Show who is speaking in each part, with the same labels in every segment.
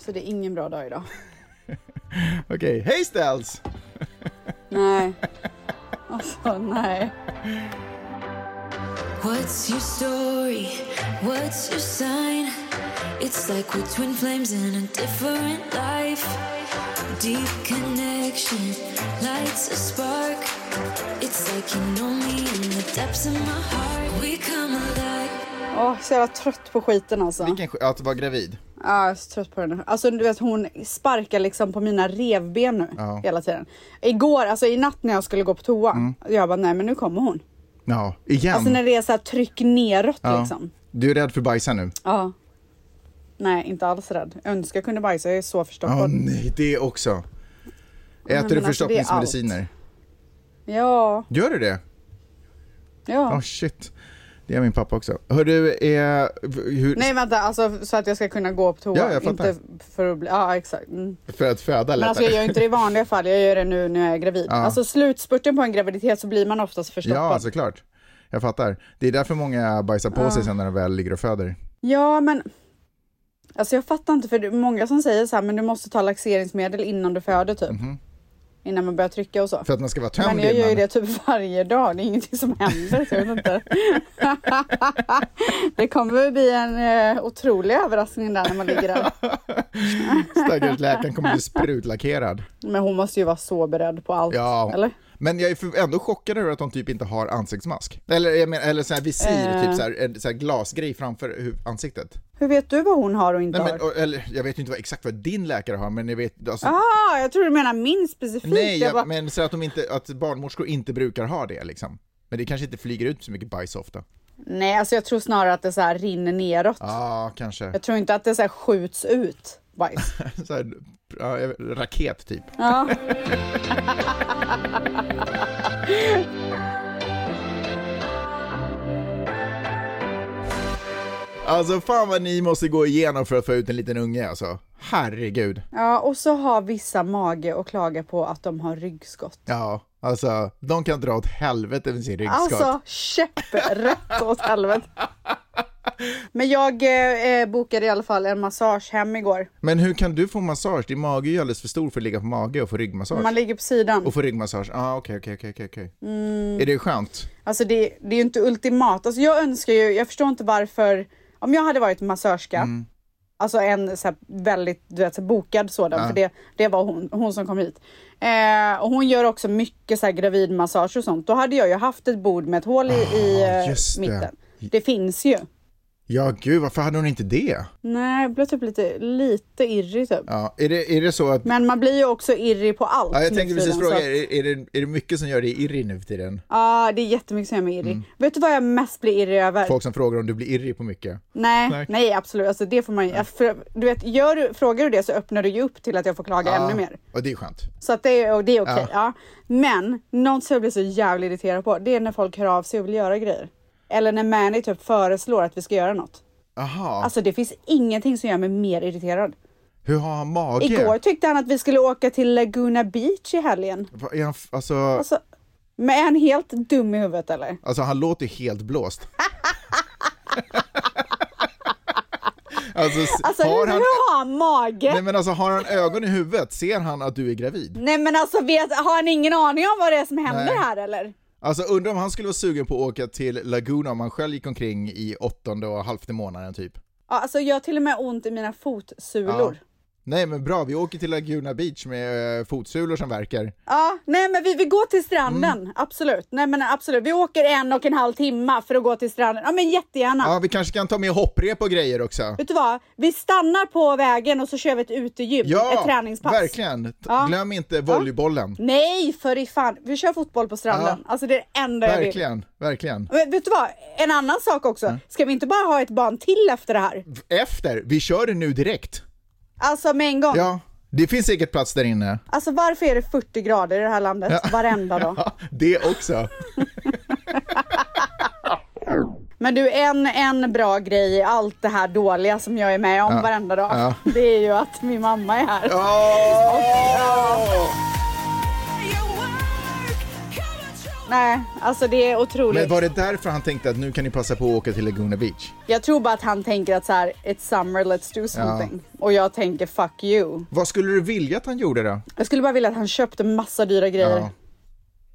Speaker 1: Så det är ingen bra dag idag.
Speaker 2: Okej, hej Ställs!
Speaker 1: Nej. Alltså, nej.
Speaker 3: What's your story? What's your sign? It's like we're twin flames in a different life. Deep connection lights a spark. It's like you know me in the depths of my heart. We come alive.
Speaker 1: Åh, så jag var trött på skiten alltså.
Speaker 2: Vilken sk- att vara gravid.
Speaker 1: Ja, jag är så trött på henne. Alltså du vet hon sparkar liksom på mina revben nu
Speaker 2: Ja. Mm.
Speaker 1: hela tiden. Igår, alltså i natt när jag skulle gå på toa, jag bara nej men nu kommer hon.
Speaker 2: Ja, igen.
Speaker 1: Alltså när det är så här tryck neråt
Speaker 2: Mm. ja.
Speaker 1: liksom.
Speaker 2: Du är rädd för bajsa nu?
Speaker 1: Ja. Nej, inte alls rädd. Jag önskar jag kunde bajsa, jag är så
Speaker 2: Ja,
Speaker 1: förstoppad.
Speaker 2: nej, det också. Äter
Speaker 1: men
Speaker 2: du
Speaker 1: alltså,
Speaker 2: förstoppningsmediciner?
Speaker 1: Ja,
Speaker 2: Gör du det?
Speaker 1: ja.
Speaker 2: Ja, shit. Det är min pappa också. Hör du, eh, hur,
Speaker 1: Nej vänta, alltså så att jag ska kunna gå på toa.
Speaker 2: Ja, jag fattar.
Speaker 1: inte för att bli, ja exakt. Mm.
Speaker 2: för att föda
Speaker 1: Men
Speaker 2: lättare?
Speaker 1: alltså jag gör inte det i vanliga fall, jag gör det nu när jag är gravid.
Speaker 2: Ja.
Speaker 1: Alltså slutspurten på en graviditet så blir man oftast förstoppad.
Speaker 2: Ja, alltså- såklart. Jag fattar. Det är därför många bajsar på sig sen när de väl ligger och föder.
Speaker 1: Ja, men alltså jag fattar inte för det är många som säger så här, men du måste ta laxeringsmedel innan du föder typ. Innan man börjar trycka och så.
Speaker 2: Mhm. För att man ska vara
Speaker 1: Men
Speaker 2: tömd
Speaker 1: jag gör ju
Speaker 2: innan.
Speaker 1: det typ varje dag, det är ingenting som händer. Så jag vet inte. det kommer väl bli en eh, otrolig överraskning där när man ligger där.
Speaker 2: Stackars läkaren kommer bli sprutlackerad.
Speaker 1: Men hon måste ju vara så beredd på allt.
Speaker 2: Ja.
Speaker 1: Eller?
Speaker 2: Men jag är för- ändå chockad över att de typ inte har ansiktsmask. Eller, jag menar, eller sån här visir,
Speaker 1: Eh.
Speaker 2: typ så här, en sån här glasgrej framför huv- ansiktet.
Speaker 1: Hur vet du vad hon har och inte
Speaker 2: Nej, men,
Speaker 1: har?
Speaker 2: och- eller, jag vet ju inte vad, exakt vad din läkare har, men jag vet... Alltså,
Speaker 1: Ah, jag tror du menar min specifikt.
Speaker 2: nej,
Speaker 1: jag
Speaker 2: jag,
Speaker 1: bara,
Speaker 2: men så att, de inte, att barnmorskor inte brukar ha det liksom. Men det kanske inte flyger ut så mycket bajs ofta.
Speaker 1: nej, alltså jag tror snarare att det så här rinner neråt.
Speaker 2: Ja, Ah, kanske.
Speaker 1: Jag tror inte att det så här skjuts ut bajs.
Speaker 2: Så här, ja, jag vet- raket typ.
Speaker 1: Ja.
Speaker 2: Alltså fan vad ni måste gå igenom för att få ut en liten unge alltså. Herregud.
Speaker 1: ja, och så har vissa mage och klaga på att de har ryggskott.
Speaker 2: Ja, alltså de kan dra åt helvete med sin ryggskott.
Speaker 1: Alltså käpprätt åt helvete. Men jag eh, eh, bokade i alla fall en massage hem igår.
Speaker 2: Men hur kan du få massage? Din mage är ju alldeles för stor för att ligga på mage och få ryggmassage.
Speaker 1: Man ligger på sidan.
Speaker 2: Och få ryggmassage, ah, okej okej okej okej. okej.
Speaker 1: Mm.
Speaker 2: Är det skönt?
Speaker 1: Alltså det, det är ju inte ultimat. Alltså jag önskar ju, jag förstår inte varför. Om jag hade varit massörska,
Speaker 2: Mm.
Speaker 1: alltså en så här väldigt du vet, så här bokad sådan, för det, det var hon, hon som kom hit. Eh, och hon gör också mycket så här gravidmassage och sånt. Då hade jag ju haft ett bord med ett hål i, i eh,
Speaker 2: Ah, just det.
Speaker 1: mitten. Det finns ju.
Speaker 2: Ja gud, varför hade hon inte det?
Speaker 1: Nej, jag blev typ lite, lite irrig typ.
Speaker 2: Ja, är det, är det så att...
Speaker 1: Men man blir ju också irrig på allt.
Speaker 2: Ja, jag
Speaker 1: nu
Speaker 2: tänkte
Speaker 1: för
Speaker 2: precis
Speaker 1: tiden, så
Speaker 2: fråga,
Speaker 1: att-
Speaker 2: är, är, det, är det mycket som gör dig irrig nu för tiden?
Speaker 1: Ja, det är jättemycket som gör mig
Speaker 2: Mm.
Speaker 1: irrig. Vet du vad jag mest blir irrig över?
Speaker 2: Folk som frågar om du blir irrig på mycket?
Speaker 1: Nej,
Speaker 2: Nej.
Speaker 1: nej, absolut. Alltså, det får man ju. För, du vet, gör, du- frågar du det så öppnar du ju upp till att jag får klaga ännu mer.
Speaker 2: Och det är skönt.
Speaker 1: Så att det, är- och det är okej.
Speaker 2: Ja.
Speaker 1: Ja. Men något som jag blir så jävligt irriterad på, det är när folk hör av sig och vill göra grejer. Eller när Mani typ föreslår att vi ska göra något.
Speaker 2: Aha,
Speaker 1: Alltså det finns ingenting som gör mig mer irriterad.
Speaker 2: hur har han mage?
Speaker 1: Igår tyckte han att vi skulle åka till Laguna Beach i helgen.
Speaker 2: Vad Är han, f- alltså,
Speaker 1: Alltså, men är han helt dum i huvudet eller?
Speaker 2: alltså han låter ju helt blåst. alltså, s-
Speaker 1: Alltså
Speaker 2: har
Speaker 1: hur
Speaker 2: han...
Speaker 1: har han mage?
Speaker 2: Nej men alltså har han ögon i huvudet, ser han att du är gravid?
Speaker 1: Nej men alltså vet, har han ingen aning om vad det är som händer
Speaker 2: Nej.
Speaker 1: här eller?
Speaker 2: Alltså undrar om han skulle vara sugen på att åka till Laguna om han själv gick omkring i åttonde och halfte månaden typ.
Speaker 1: Ja, alltså jag har till och med ont i mina fotsulor. Ja.
Speaker 2: Nej men bra, vi åker till Laguna Beach med eh, fotsulor som verkar.
Speaker 1: nej men vi, vi går till stranden,
Speaker 2: Mm.
Speaker 1: absolut. Nej men absolut, vi åker en och en halv timme för att gå till stranden. Ja men jättegärna.
Speaker 2: Ja, vi kanske kan ta med hopprep och grejer också.
Speaker 1: Vet du vad? Vi stannar på vägen och så kör vi ett utegym, ett
Speaker 2: Ja,
Speaker 1: träningspass.
Speaker 2: verkligen. T-
Speaker 1: Ja.
Speaker 2: Glöm inte volleybollen.
Speaker 1: Nej för i fan, vi kör fotboll på stranden.
Speaker 2: Ja.
Speaker 1: Alltså det är det enda jag vill.
Speaker 2: Verkligen, Mm. verkligen.
Speaker 1: Men vet du vad? En annan sak också. Ska vi inte bara ha ett barn till efter det här?
Speaker 2: Mm. Efter, vi kör det nu direkt.
Speaker 1: Alltså med en gång.
Speaker 2: Ja, det finns säkert plats där inne.
Speaker 1: Alltså varför är det 40 grader i det här landet varenda dag?
Speaker 2: Ja, det också.
Speaker 1: Men du, en, en bra grej i allt det här dåliga som jag är med om varenda dag,
Speaker 2: Ja.
Speaker 1: det är ju att min mamma är här.
Speaker 2: Ja!
Speaker 3: Your work, come on, show
Speaker 1: Nej, alltså det är otroligt.
Speaker 2: Men var det därför han tänkte att nu kan ni passa på att åka till Laguna Beach?
Speaker 1: Jag tror bara att han tänker att så här, it's summer, let's do something. Och jag tänker fuck you.
Speaker 2: Vad skulle du vilja att han gjorde då?
Speaker 1: Jag skulle bara vilja att han köpte massa dyra grejer.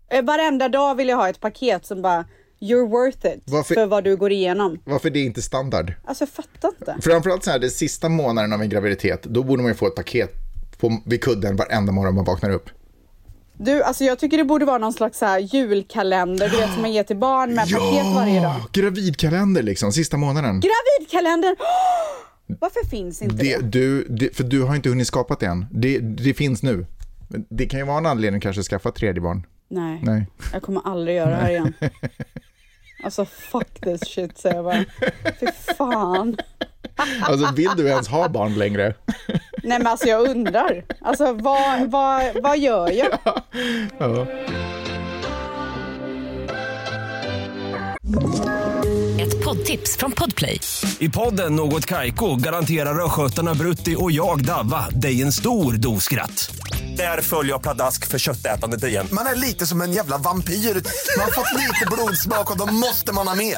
Speaker 2: Ja.
Speaker 1: Eh, Varenda dag vill jag ha ett paket som bara, you're worth it
Speaker 2: Varför-
Speaker 1: för vad du går igenom.
Speaker 2: Varför det är inte standard?
Speaker 1: Alltså jag fattar inte.
Speaker 2: Framförallt så här, det sista månaden av en graviditet, då borde man ju få ett paket på, vid kudden varenda morgon man vaknar upp.
Speaker 1: Du, alltså jag tycker det borde vara någon slags så här julkalender, du vet som man ger till barn med paket varje dag.
Speaker 2: Gravidkalender liksom, sista månaden.
Speaker 1: Gravidkalender! Varför finns inte
Speaker 2: Det,
Speaker 1: det?
Speaker 2: du, det, för du har inte hunnit skapa det än. Det, det finns nu. Men Det kan ju vara en anledning kanske att skaffa ett tredje barn.
Speaker 1: Nej.
Speaker 2: Nej.
Speaker 1: Jag kommer aldrig göra det här igen. Alltså fuck this shit säger jag bara. Fy fan.
Speaker 2: Alltså vill du ens ha barn längre?
Speaker 1: Nej men alltså jag undrar. Alltså vad, vad, vad gör jag?
Speaker 4: Ett poddtips från Podplay.
Speaker 5: I podden Något Kaiko garanterar östgötarna Brutti och jag, Davva, dig en stor dos skratt. Där följer jag pladask för köttätandet igen.
Speaker 6: Man är lite som en jävla vampyr. Man har fått lite blodsmak och då måste man ha mer.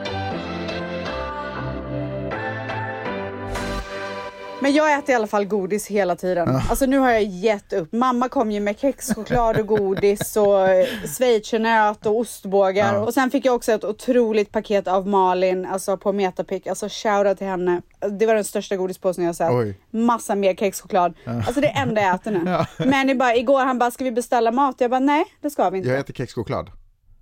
Speaker 1: Men jag äter i alla fall godis hela tiden. Alltså nu har jag gett upp. Mamma kom ju med kexchoklad och godis och eh, schweizernöt och ostbågar. Och sen fick jag också ett otroligt paket av Malin, alltså på Metapic. Alltså shoutout till henne. Det var den största godispåsen jag har sett.
Speaker 2: Oj.
Speaker 1: Massa mer kexchoklad. Alltså det är det enda jag äter nu. Men det är bara, igår han bara, ska vi beställa mat? Jag bara, nej det ska vi inte.
Speaker 2: Jag äter kexchoklad.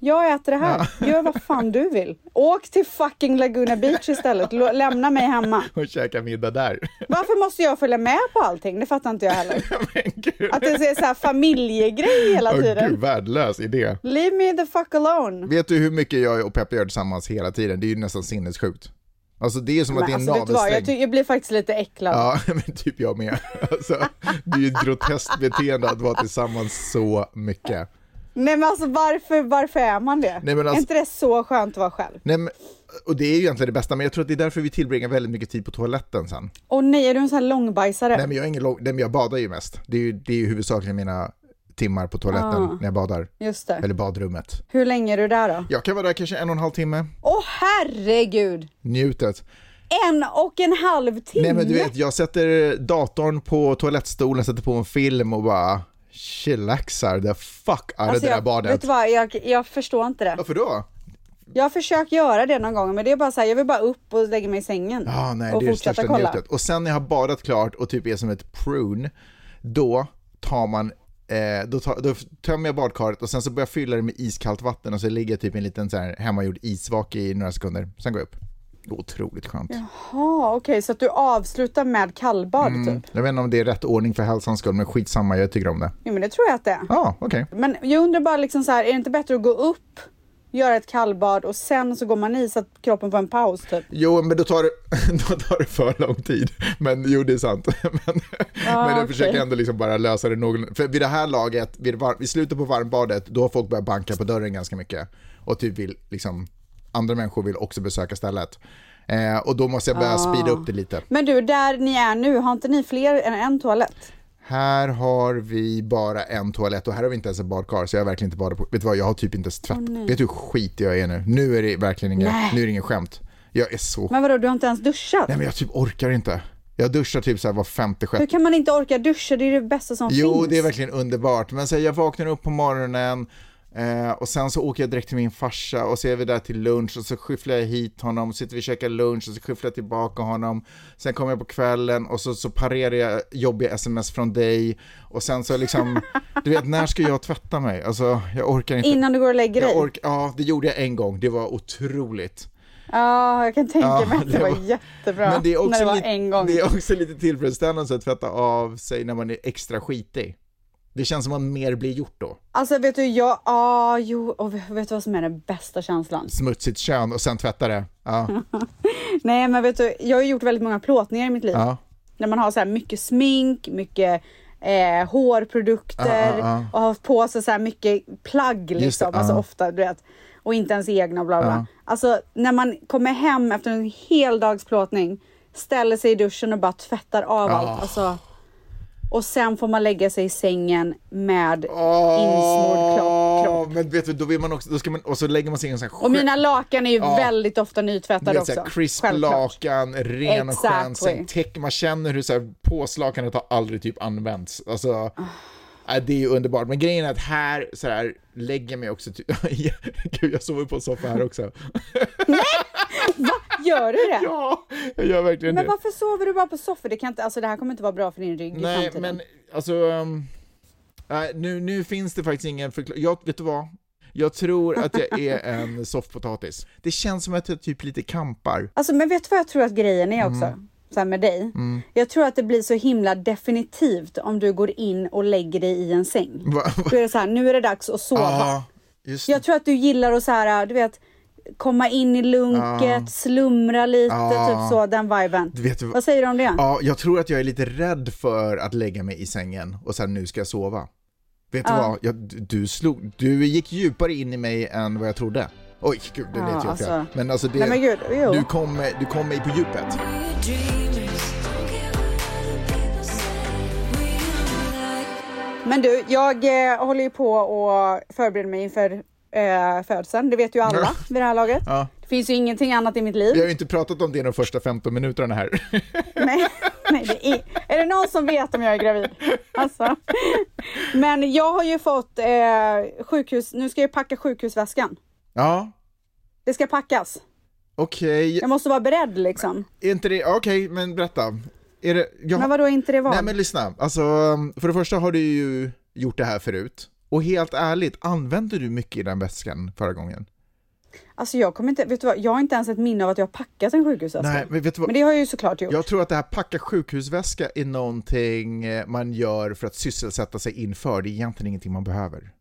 Speaker 1: Jag äter det här. Gör vad fan du vill. Åk till fucking Laguna Beach istället. Lå- Lämna mig hemma.
Speaker 2: Och käkar middag där.
Speaker 1: Varför måste jag följa med på allting? Det fattar inte jag heller.
Speaker 2: Men gud.
Speaker 1: Att det är så här familjegrej hela
Speaker 2: Åh,
Speaker 1: tiden.
Speaker 2: gud, värdelös idé.
Speaker 1: Leave me the fuck alone.
Speaker 2: Vet du hur mycket jag och Peppe gör tillsammans hela tiden? Det är ju nästan sinnessjukt. Alltså det är som att det är en
Speaker 1: alltså, vet du vad? Jag,
Speaker 2: navelsträng.
Speaker 1: ty- jag blir faktiskt lite äcklad.
Speaker 2: Ja, men typ jag med. Alltså, det är ju ett groteskt beteende att vara tillsammans så mycket.
Speaker 1: Nej men alltså varför, varför är man det?
Speaker 2: Nej, men alltså-
Speaker 1: Är inte det så skönt att vara själv?
Speaker 2: Nej, men, och det är ju egentligen det bästa, men jag tror att det är därför vi tillbringar väldigt mycket tid på toaletten sen.
Speaker 1: Åh nej, är du en sån här långbajsare?
Speaker 2: Nej men jag, är ingen lång, nej, men jag badar ju mest. Det är ju, det är ju huvudsakligen mina timmar på toaletten
Speaker 1: Ah.
Speaker 2: när jag badar.
Speaker 1: Just det.
Speaker 2: Eller badrummet.
Speaker 1: Hur länge är du där då?
Speaker 2: Jag kan vara där kanske en och en halv timme.
Speaker 1: Åh herregud!
Speaker 2: Njutet.
Speaker 1: En och en halv timme!
Speaker 2: Nej men du vet, jag sätter datorn på toalettstolen, sätter på en film och bara chillaxar the fuck out of
Speaker 1: alltså,
Speaker 2: det där
Speaker 1: jag, Vet
Speaker 2: badet.
Speaker 1: du vad, jag, jag förstår inte det.
Speaker 2: Varför då?
Speaker 1: Jag har försökt göra det någon gång men det är bara så här, jag vill bara upp och lägga mig i sängen.
Speaker 2: Ja, nej,
Speaker 1: och
Speaker 2: det är det
Speaker 1: fortsätta
Speaker 2: största
Speaker 1: kolla.
Speaker 2: njutet. Och sen när jag har badat klart och typ är som ett prune, då tar man Eh, då, tar, då tömmer jag badkaret och sen så börjar jag fylla det med iskallt vatten och så ligger jag typ i en liten så här hemmagjord isvak i några sekunder. Sen går jag upp. Otroligt skönt.
Speaker 1: Jaha, okej så att du avslutar med kallbad typ?
Speaker 2: Jag vet inte om det är rätt ordning för hälsans skull men skitsamma, jag tycker om det.
Speaker 1: Jo men det tror jag att det är.
Speaker 2: Ja, ah, okej.
Speaker 1: Men jag undrar bara liksom så här, är det inte bättre att gå upp, göra ett kallbad och sen så går man i så att kroppen får en paus typ?
Speaker 2: Jo, men då tar, det, då tar det för lång tid. Men jo, det är sant. Men, men jag
Speaker 1: Ah, okej.
Speaker 2: försöker ändå liksom bara lösa det någon. För vid det här laget, vid, var, vid slutet på varmbadet, då har folk börjat banka på dörren ganska mycket. Och typ vill, liksom, andra människor vill också besöka stället. Eh, och då måste jag börja
Speaker 1: Ah.
Speaker 2: speeda upp det lite.
Speaker 1: Men du, där ni är nu, har inte ni fler än en toalett?
Speaker 2: Här har vi bara en toalett och här har vi inte ens en badkar, så jag har verkligen inte badat på. Vet du vad, jag har typ inte ens tvätt. vet du hur skitig jag är nu? Nu är det verkligen inget,
Speaker 1: Nej.
Speaker 2: nu är det ingen skämt. Jag är så
Speaker 1: Men vadå, du har inte ens duschat?
Speaker 2: Nej men jag typ orkar inte. Jag duschar typ så här var femte,
Speaker 1: Hur
Speaker 2: sjätte.
Speaker 1: kan man inte orka duscha? Det är det bästa som
Speaker 2: Jo,
Speaker 1: finns.
Speaker 2: det är verkligen underbart. Men så här, jag vaknar upp på morgonen eh, och sen så åker jag direkt till min farsa och så är vi där till lunch och så skyfflar jag hit honom, sitter vi och käkar lunch och så skyfflar jag tillbaka honom. Sen kommer jag på kvällen och så, så parerar jag jobbiga sms från dig och sen så liksom, du vet när ska jag tvätta mig? Alltså jag orkar inte.
Speaker 1: Innan du går och lägger dig?
Speaker 2: jag ork- ja, det gjorde jag en gång, det var otroligt.
Speaker 1: Ja, jag kan tänka
Speaker 2: Ja,
Speaker 1: mig att det
Speaker 2: det
Speaker 1: var
Speaker 2: var-
Speaker 1: jättebra
Speaker 2: Men det är också,
Speaker 1: när det var
Speaker 2: lite,
Speaker 1: en gång.
Speaker 2: det är också lite tillfredsställande att tvätta av sig när man är extra skitig. Det känns som att mer blir gjort då.
Speaker 1: Alltså vet du, jag, ah, jo, och vet vet du vad som är den bästa känslan?
Speaker 2: Smutsigt kön och sen tvätta det.
Speaker 1: Mm.
Speaker 2: Ja,
Speaker 1: Nej men vet du, jag har gjort väldigt många plåtningar i mitt liv.
Speaker 2: ja.
Speaker 1: När man har så här mycket smink, mycket eh, hårprodukter
Speaker 2: Ja, ja, ja.
Speaker 1: och har haft på sig så här mycket plagg
Speaker 2: Just det,
Speaker 1: liksom. alltså
Speaker 2: ja.
Speaker 1: ofta, du vet. och inte ens egna och bla bla.
Speaker 2: Ja.
Speaker 1: Alltså när man kommer hem efter en hel dags plåtning, ställer sig i duschen och bara tvättar
Speaker 2: Ah.
Speaker 1: av allt. Alltså, och sen får man lägga sig i sängen med
Speaker 2: Ah.
Speaker 1: insmord kropp. kropp.
Speaker 2: Ja, men vet du, då vill man också, då ska man, och så lägger man sig i en sån här
Speaker 1: Och mina lakan är ju
Speaker 2: Ja.
Speaker 1: väldigt ofta
Speaker 2: du
Speaker 1: nytvättade
Speaker 2: vet, så
Speaker 1: också.
Speaker 2: här, crisp
Speaker 1: Självklart.
Speaker 2: lakan, ren och skön
Speaker 1: Exactly.
Speaker 2: sängtäck. Man känner hur så här, påslakanet har aldrig typ använts. Alltså,
Speaker 1: Ah.
Speaker 2: äh, det är ju underbart. Men grejen är att här, så här lägger jag mig också... Ty- Gud, jag sover på en soffa här också.
Speaker 1: Gör du det?
Speaker 2: ja, jag gör verkligen
Speaker 1: Men
Speaker 2: det.
Speaker 1: varför sover du bara på soffor? Det, kan inte, alltså, det här kommer inte vara bra för din rygg i
Speaker 2: Nej,
Speaker 1: framtiden.
Speaker 2: men alltså... ehm, nej, nu, nu finns det faktiskt ingen förklaring. Jag, vet du vad? Jag tror att jag är en soffpotatis. Det känns som att jag typ lite kampar.
Speaker 1: Alltså, men vet du vad jag tror att grejen är också?
Speaker 2: Mm.
Speaker 1: Så här med dig. Jag tror att det blir så himla definitivt om du går in och lägger dig i en säng.
Speaker 2: Va- Ah. va-
Speaker 1: Då är det så här, nu är det dags att sova.
Speaker 2: Ja, just det.
Speaker 1: Jag tror att du gillar att så här, du vet, komma in i lunket, slumra lite, typ så, den viben.
Speaker 2: Ah. Du vet- Ah.
Speaker 1: Vad säger du om det?
Speaker 2: Ja, jag tror att jag är lite rädd för att lägga mig i sängen och sen nu ska jag sova. Vet du vad? Jag, du- du, slog, du gick djupare in i mig än vad jag trodde. Oj, gud, det
Speaker 1: Ja,
Speaker 2: lät ju fel.
Speaker 1: alltså.
Speaker 2: Men alltså det...
Speaker 1: Nej, men gud, jo.
Speaker 2: du kom, du kom mig på djupet.
Speaker 3: We're dreamers. Don't care what other people say. We are like
Speaker 1: Men du, jag eh, håller ju på och förbereder mig inför eh, födseln. Det vet ju alla vid det här laget.
Speaker 2: Ja. Ah.
Speaker 1: Det finns ju ingenting annat i mitt liv.
Speaker 2: Vi har ju inte pratat om det de första 15 minuterna här.
Speaker 1: Nej, nej det är, är det någon som vet om jag är gravid? Alltså. Men jag har ju fått eh, sjukhus, nu ska jag packa sjukhusväskan.
Speaker 2: ja,
Speaker 1: Det ska packas.
Speaker 2: okej.
Speaker 1: Jag måste vara beredd liksom.
Speaker 2: Är inte det... Okej, men berätta. Är det... Jag...
Speaker 1: Men vadå inte det var?
Speaker 2: Nej men lyssna, alltså för det första har du ju gjort det här förut. Och helt ärligt, använde du mycket i den väskan förra gången?
Speaker 1: Alltså jag kommer inte, vet du vad, jag har inte ens ett minne av att jag har packat en sjukhusväska.
Speaker 2: Nej, men vet
Speaker 1: Alltså,
Speaker 2: du vad?
Speaker 1: Men det har jag ju såklart gjort.
Speaker 2: Jag tror att det här packa sjukhusväska är någonting eh, man gör för att sysselsätta sig inför. Det är egentligen ingenting man behöver.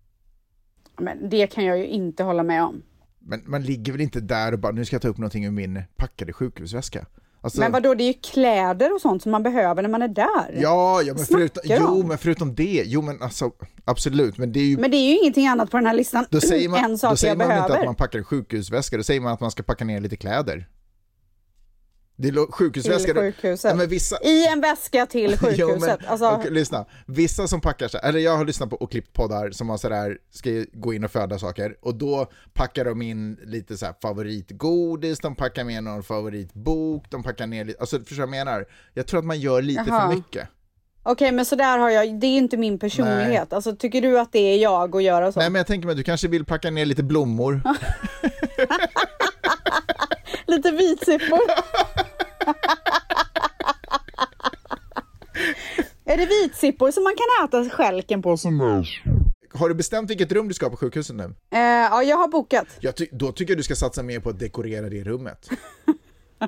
Speaker 1: Men det kan jag ju inte hålla med om.
Speaker 2: Men man ligger väl inte där och bara nu ska jag ta upp någonting ur min packade sjukhusväska. Alltså,
Speaker 1: Men vadå, det är ju kläder och sånt som man behöver när man är där.
Speaker 2: Ja, ja men, förutom,
Speaker 1: Snackar du
Speaker 2: jo,
Speaker 1: om?
Speaker 2: men förutom det. Jo, men alltså absolut. Men det är ju...
Speaker 1: Men det är ju ingenting annat på den här listan
Speaker 2: då säger man,
Speaker 1: än saker
Speaker 2: då säger
Speaker 1: jag
Speaker 2: man
Speaker 1: behöver.
Speaker 2: inte att man packar en sjukhusväska, då säger man att man ska packa ner lite kläder. Det är lo- sjukhusväska.
Speaker 1: Till
Speaker 2: det-
Speaker 1: sjukhuset.
Speaker 2: Ja, men vissa,
Speaker 1: I en väska till sjukhuset.
Speaker 2: Jo, men,
Speaker 1: alltså,
Speaker 2: okej, lyssna, vissa som packar sig, eller jag har lyssnat på och klippt poddar som har sådär, ska ju gå in och föda saker, och då packar de in lite så här favoritgodis, de packar med någon favoritbok, de packar ner lite, alltså förstår du vad jag menar? Jag tror att man gör lite
Speaker 1: Jaha.
Speaker 2: för mycket.
Speaker 1: Okej, men sådär har jag, det är inte min personlighet. Alltså, tycker du att det är jag att göra så?
Speaker 2: Nej men jag tänker mig, du kanske vill packa ner lite blommor?
Speaker 1: Lite vitsippor. är det vitsippor som man kan äta skälken på?
Speaker 2: Har du bestämt vilket rum du ska ha på sjukhuset nu?
Speaker 1: Eh, ja, jag har bokat.
Speaker 2: Jag ty- då tycker jag du ska satsa mer på att dekorera det rummet.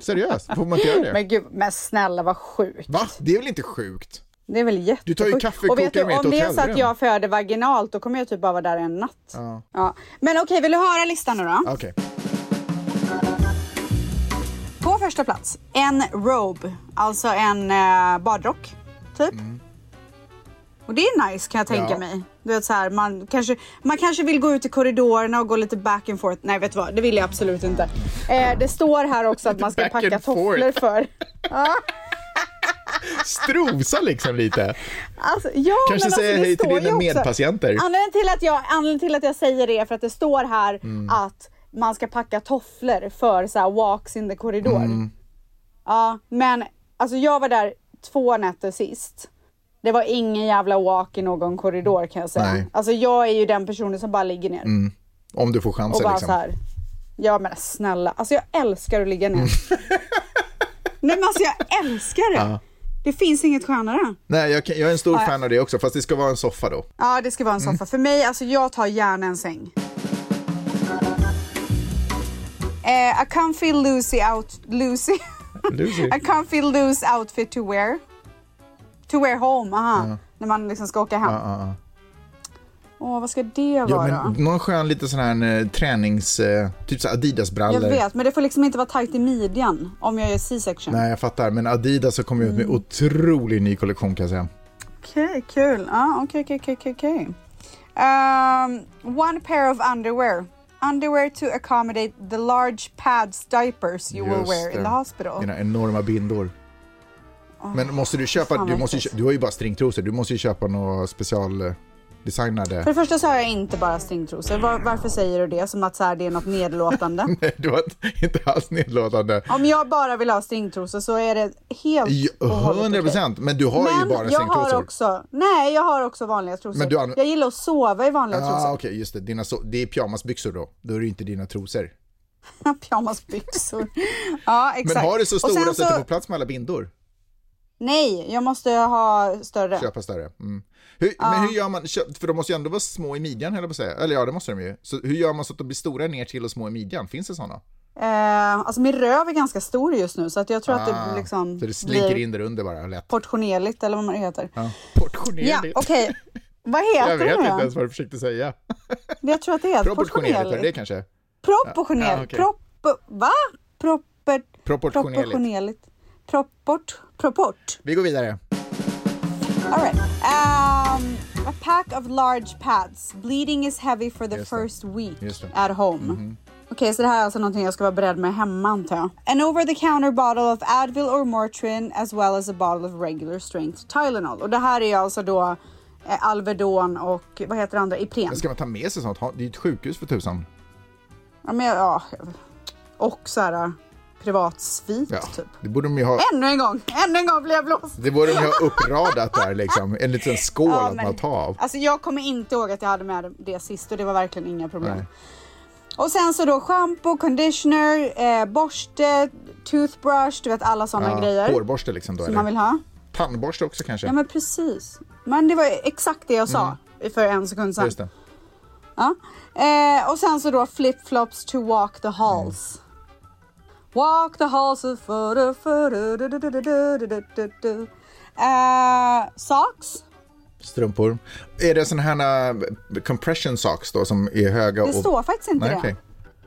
Speaker 2: Seriöst, får man inte göra det?
Speaker 1: Men gud, men snälla vad sjukt.
Speaker 2: Va? Det är väl inte sjukt?
Speaker 1: Det är väl jättesjukt.
Speaker 2: Du tar ju kaffekokaren
Speaker 1: Och vet du,
Speaker 2: med till
Speaker 1: om det är så att
Speaker 2: hotellrum.
Speaker 1: jag föder vaginalt, då kommer jag typ bara vara där en natt.
Speaker 2: Ja.
Speaker 1: Men okej, vill du höra listan nu då?
Speaker 2: Okej.
Speaker 1: På första plats, en robe, alltså en eh, badrock, typ. Och det är nice kan jag tänka
Speaker 2: Mm. Ja.
Speaker 1: mig. Du vet så här, man kanske, man kanske vill gå ut i korridorerna och gå lite back and forth. Nej, vet du vad? Det vill jag absolut inte. Eh, det står här också att man ska
Speaker 2: Back
Speaker 1: packa
Speaker 2: and forth.
Speaker 1: tofflor för. Ja,
Speaker 2: Strosa liksom lite.
Speaker 1: alltså, ja,
Speaker 2: Kanske
Speaker 1: men
Speaker 2: säga
Speaker 1: alltså, det
Speaker 2: hej till
Speaker 1: står
Speaker 2: dina
Speaker 1: ju också-
Speaker 2: medpatienter.
Speaker 1: Anledningen till, att jag, anledningen till att jag säger det är för att det står här
Speaker 2: Mm.
Speaker 1: att man ska packa tofflor för så här walks in the corridor.
Speaker 2: Mm.
Speaker 1: Ja, men alltså jag var där två nätter sist. Det var ingen jävla walk i någon korridor kan jag säga.
Speaker 2: Nej.
Speaker 1: Alltså jag är ju den personen som bara ligger ner
Speaker 2: Om du får
Speaker 1: och
Speaker 2: chansen
Speaker 1: bara
Speaker 2: liksom.
Speaker 1: så här. Ja men snälla, alltså jag älskar att ligga ner.
Speaker 2: Mm.
Speaker 1: Nej men alltså jag älskar det. Det finns inget skönare.
Speaker 2: Nej, jag, kan, jag är en stor
Speaker 1: Ja.
Speaker 2: fan av det också, fast det ska vara en soffa då.
Speaker 1: Ja, det ska vara en
Speaker 2: Mm.
Speaker 1: soffa. För mig, alltså jag tar gärna en säng. Eh, I can't feel Lucy out... Lucy?
Speaker 2: Lucy.
Speaker 1: I can't feel loose outfit to wear. To wear home, aha. När man liksom ska åka hem. Åh,
Speaker 2: Ja, ja.
Speaker 1: vad ska det
Speaker 2: Ja,
Speaker 1: vara?
Speaker 2: men någon skön lite sån här eh, tränings... Eh, typ så här
Speaker 1: jag
Speaker 2: Adidas-brallor.
Speaker 1: vet, men det får liksom inte vara tight i midjan om jag gör C-section.
Speaker 2: Nej, jag fattar. Men Adidas har kommit ut
Speaker 1: Mm.
Speaker 2: med otrolig ny kollektion kan jag säga.
Speaker 1: Okej, kul. Ah, Okej, okej, okej, okej, okej. Ehm, One pair of underwear. underwear to accommodate the large pads diapers you will
Speaker 2: Just
Speaker 1: wear in
Speaker 2: det.
Speaker 1: the hospital. Ah,
Speaker 2: Dina enorma bindor. Men måste du köpa,
Speaker 1: fan
Speaker 2: du,
Speaker 1: vad
Speaker 2: måste ju,
Speaker 1: äckligt.
Speaker 2: kö- du har ju bara stringtrosor, du måste ju köpa några specialdesignade.
Speaker 1: För det första så har jag inte bara stringtrosor. Var, varför säger du det? Som att så här, det är något nedlåtande.
Speaker 2: Nej, du var inte- inte alls nedlåtande.
Speaker 1: Om jag bara vill ha stringtrosor så är det helt
Speaker 2: Ja,
Speaker 1: och hållet okej.
Speaker 2: 100 procent, men du har ju
Speaker 1: Men
Speaker 2: bara
Speaker 1: jag har
Speaker 2: stringtrosor.
Speaker 1: också, nej jag har också vanliga trosor.
Speaker 2: Men du anv-
Speaker 1: Jag gillar att sova i vanliga
Speaker 2: ah,
Speaker 1: trosor.
Speaker 2: okej, just det. Dina so- det är pyjamasbyxor då, då är det inte dina trosor.
Speaker 1: Pyjamasbyxor. ja exakt.
Speaker 2: Men har du så
Speaker 1: Och
Speaker 2: stora
Speaker 1: sen
Speaker 2: så att du får plats med alla bindor?
Speaker 1: Nej, jag måste ha större.
Speaker 2: Köpa större. Mm. Hur, Men hur gör man, Kö- för de måste ju ändå vara små i midjan höll jag på att säga. Eller ja, det måste de ju. Så hur gör man så att de blir stora ner till och små i midjan? Finns det sådana?
Speaker 1: Eh, alltså min röv är ganska stor just nu så att jag tror att
Speaker 2: Ah,
Speaker 1: det liksom
Speaker 2: så det slinker
Speaker 1: blir
Speaker 2: in där under bara, lätt.
Speaker 1: portionerligt eller vad man heter.
Speaker 2: Ja.
Speaker 1: Ja,
Speaker 2: Portionerligt.
Speaker 1: okej. Vad heter
Speaker 2: Jag vet
Speaker 1: det
Speaker 2: inte
Speaker 1: nu
Speaker 2: ens
Speaker 1: då?
Speaker 2: vad du försökte säga.
Speaker 1: Jag tror att det heter
Speaker 2: Proportionerligt, var det
Speaker 1: portionerligt.
Speaker 2: kanske?
Speaker 1: Proportionerligt.
Speaker 2: Ja, okej.
Speaker 1: Prop... Va? Proper...
Speaker 2: Proportionerligt.
Speaker 1: Proportionerligt. Proport. Proport.
Speaker 2: Vi går vidare.
Speaker 1: All right. Um, a pack of large pads. Bleeding is heavy for the
Speaker 2: Just det.
Speaker 1: first week
Speaker 2: Just det. Mhm.
Speaker 1: at home. Okej, så det här är alltså någonting jag ska vara beredd med hemma antar jag. An over the counter bottle of Advil or Motrin as well as a bottle of regular strength Tylenol. Och det här är alltså då eh, Alvedon och vad heter det andra? Ipren.
Speaker 2: Men ska man ta med sig sånt? Ha- Det är ju ett sjukhus för tusan.
Speaker 1: Ja, men, jag- ja. Och så här privatsvit
Speaker 2: Ja,
Speaker 1: typ.
Speaker 2: det borde de ju ha.
Speaker 1: Ännu en gång! Ännu en gång blir jag blåst!
Speaker 2: Det borde de ju ha uppradat där liksom. En liten skål
Speaker 1: Ja,
Speaker 2: att
Speaker 1: men-
Speaker 2: man tar av.
Speaker 1: Alltså jag kommer inte ihåg att jag hade med det sist och det var verkligen inga problem. Och sen så då shampoo, conditioner, eh, borste, toothbrush, du vet alla sådana
Speaker 2: Ja,
Speaker 1: grejer.
Speaker 2: Hårborste liksom då
Speaker 1: Som man
Speaker 2: eller?
Speaker 1: vill ha.
Speaker 2: Tandborste också kanske?
Speaker 1: Ja men precis. Men det var exakt det jag sa för en sekund sedan.
Speaker 2: Mm. Just det.
Speaker 1: Ja. Eh, och sen så då flip-flops to walk the
Speaker 2: Mm.
Speaker 1: halls. Walk the halls of... furu- furu- du- du- du- du- du- du- du- du. Eh, Socks.
Speaker 2: Strumpor. Är det sådana här eh, compression socks då som är höga
Speaker 1: Det
Speaker 2: och...
Speaker 1: står faktiskt inte
Speaker 2: Nej,
Speaker 1: det.
Speaker 2: okej.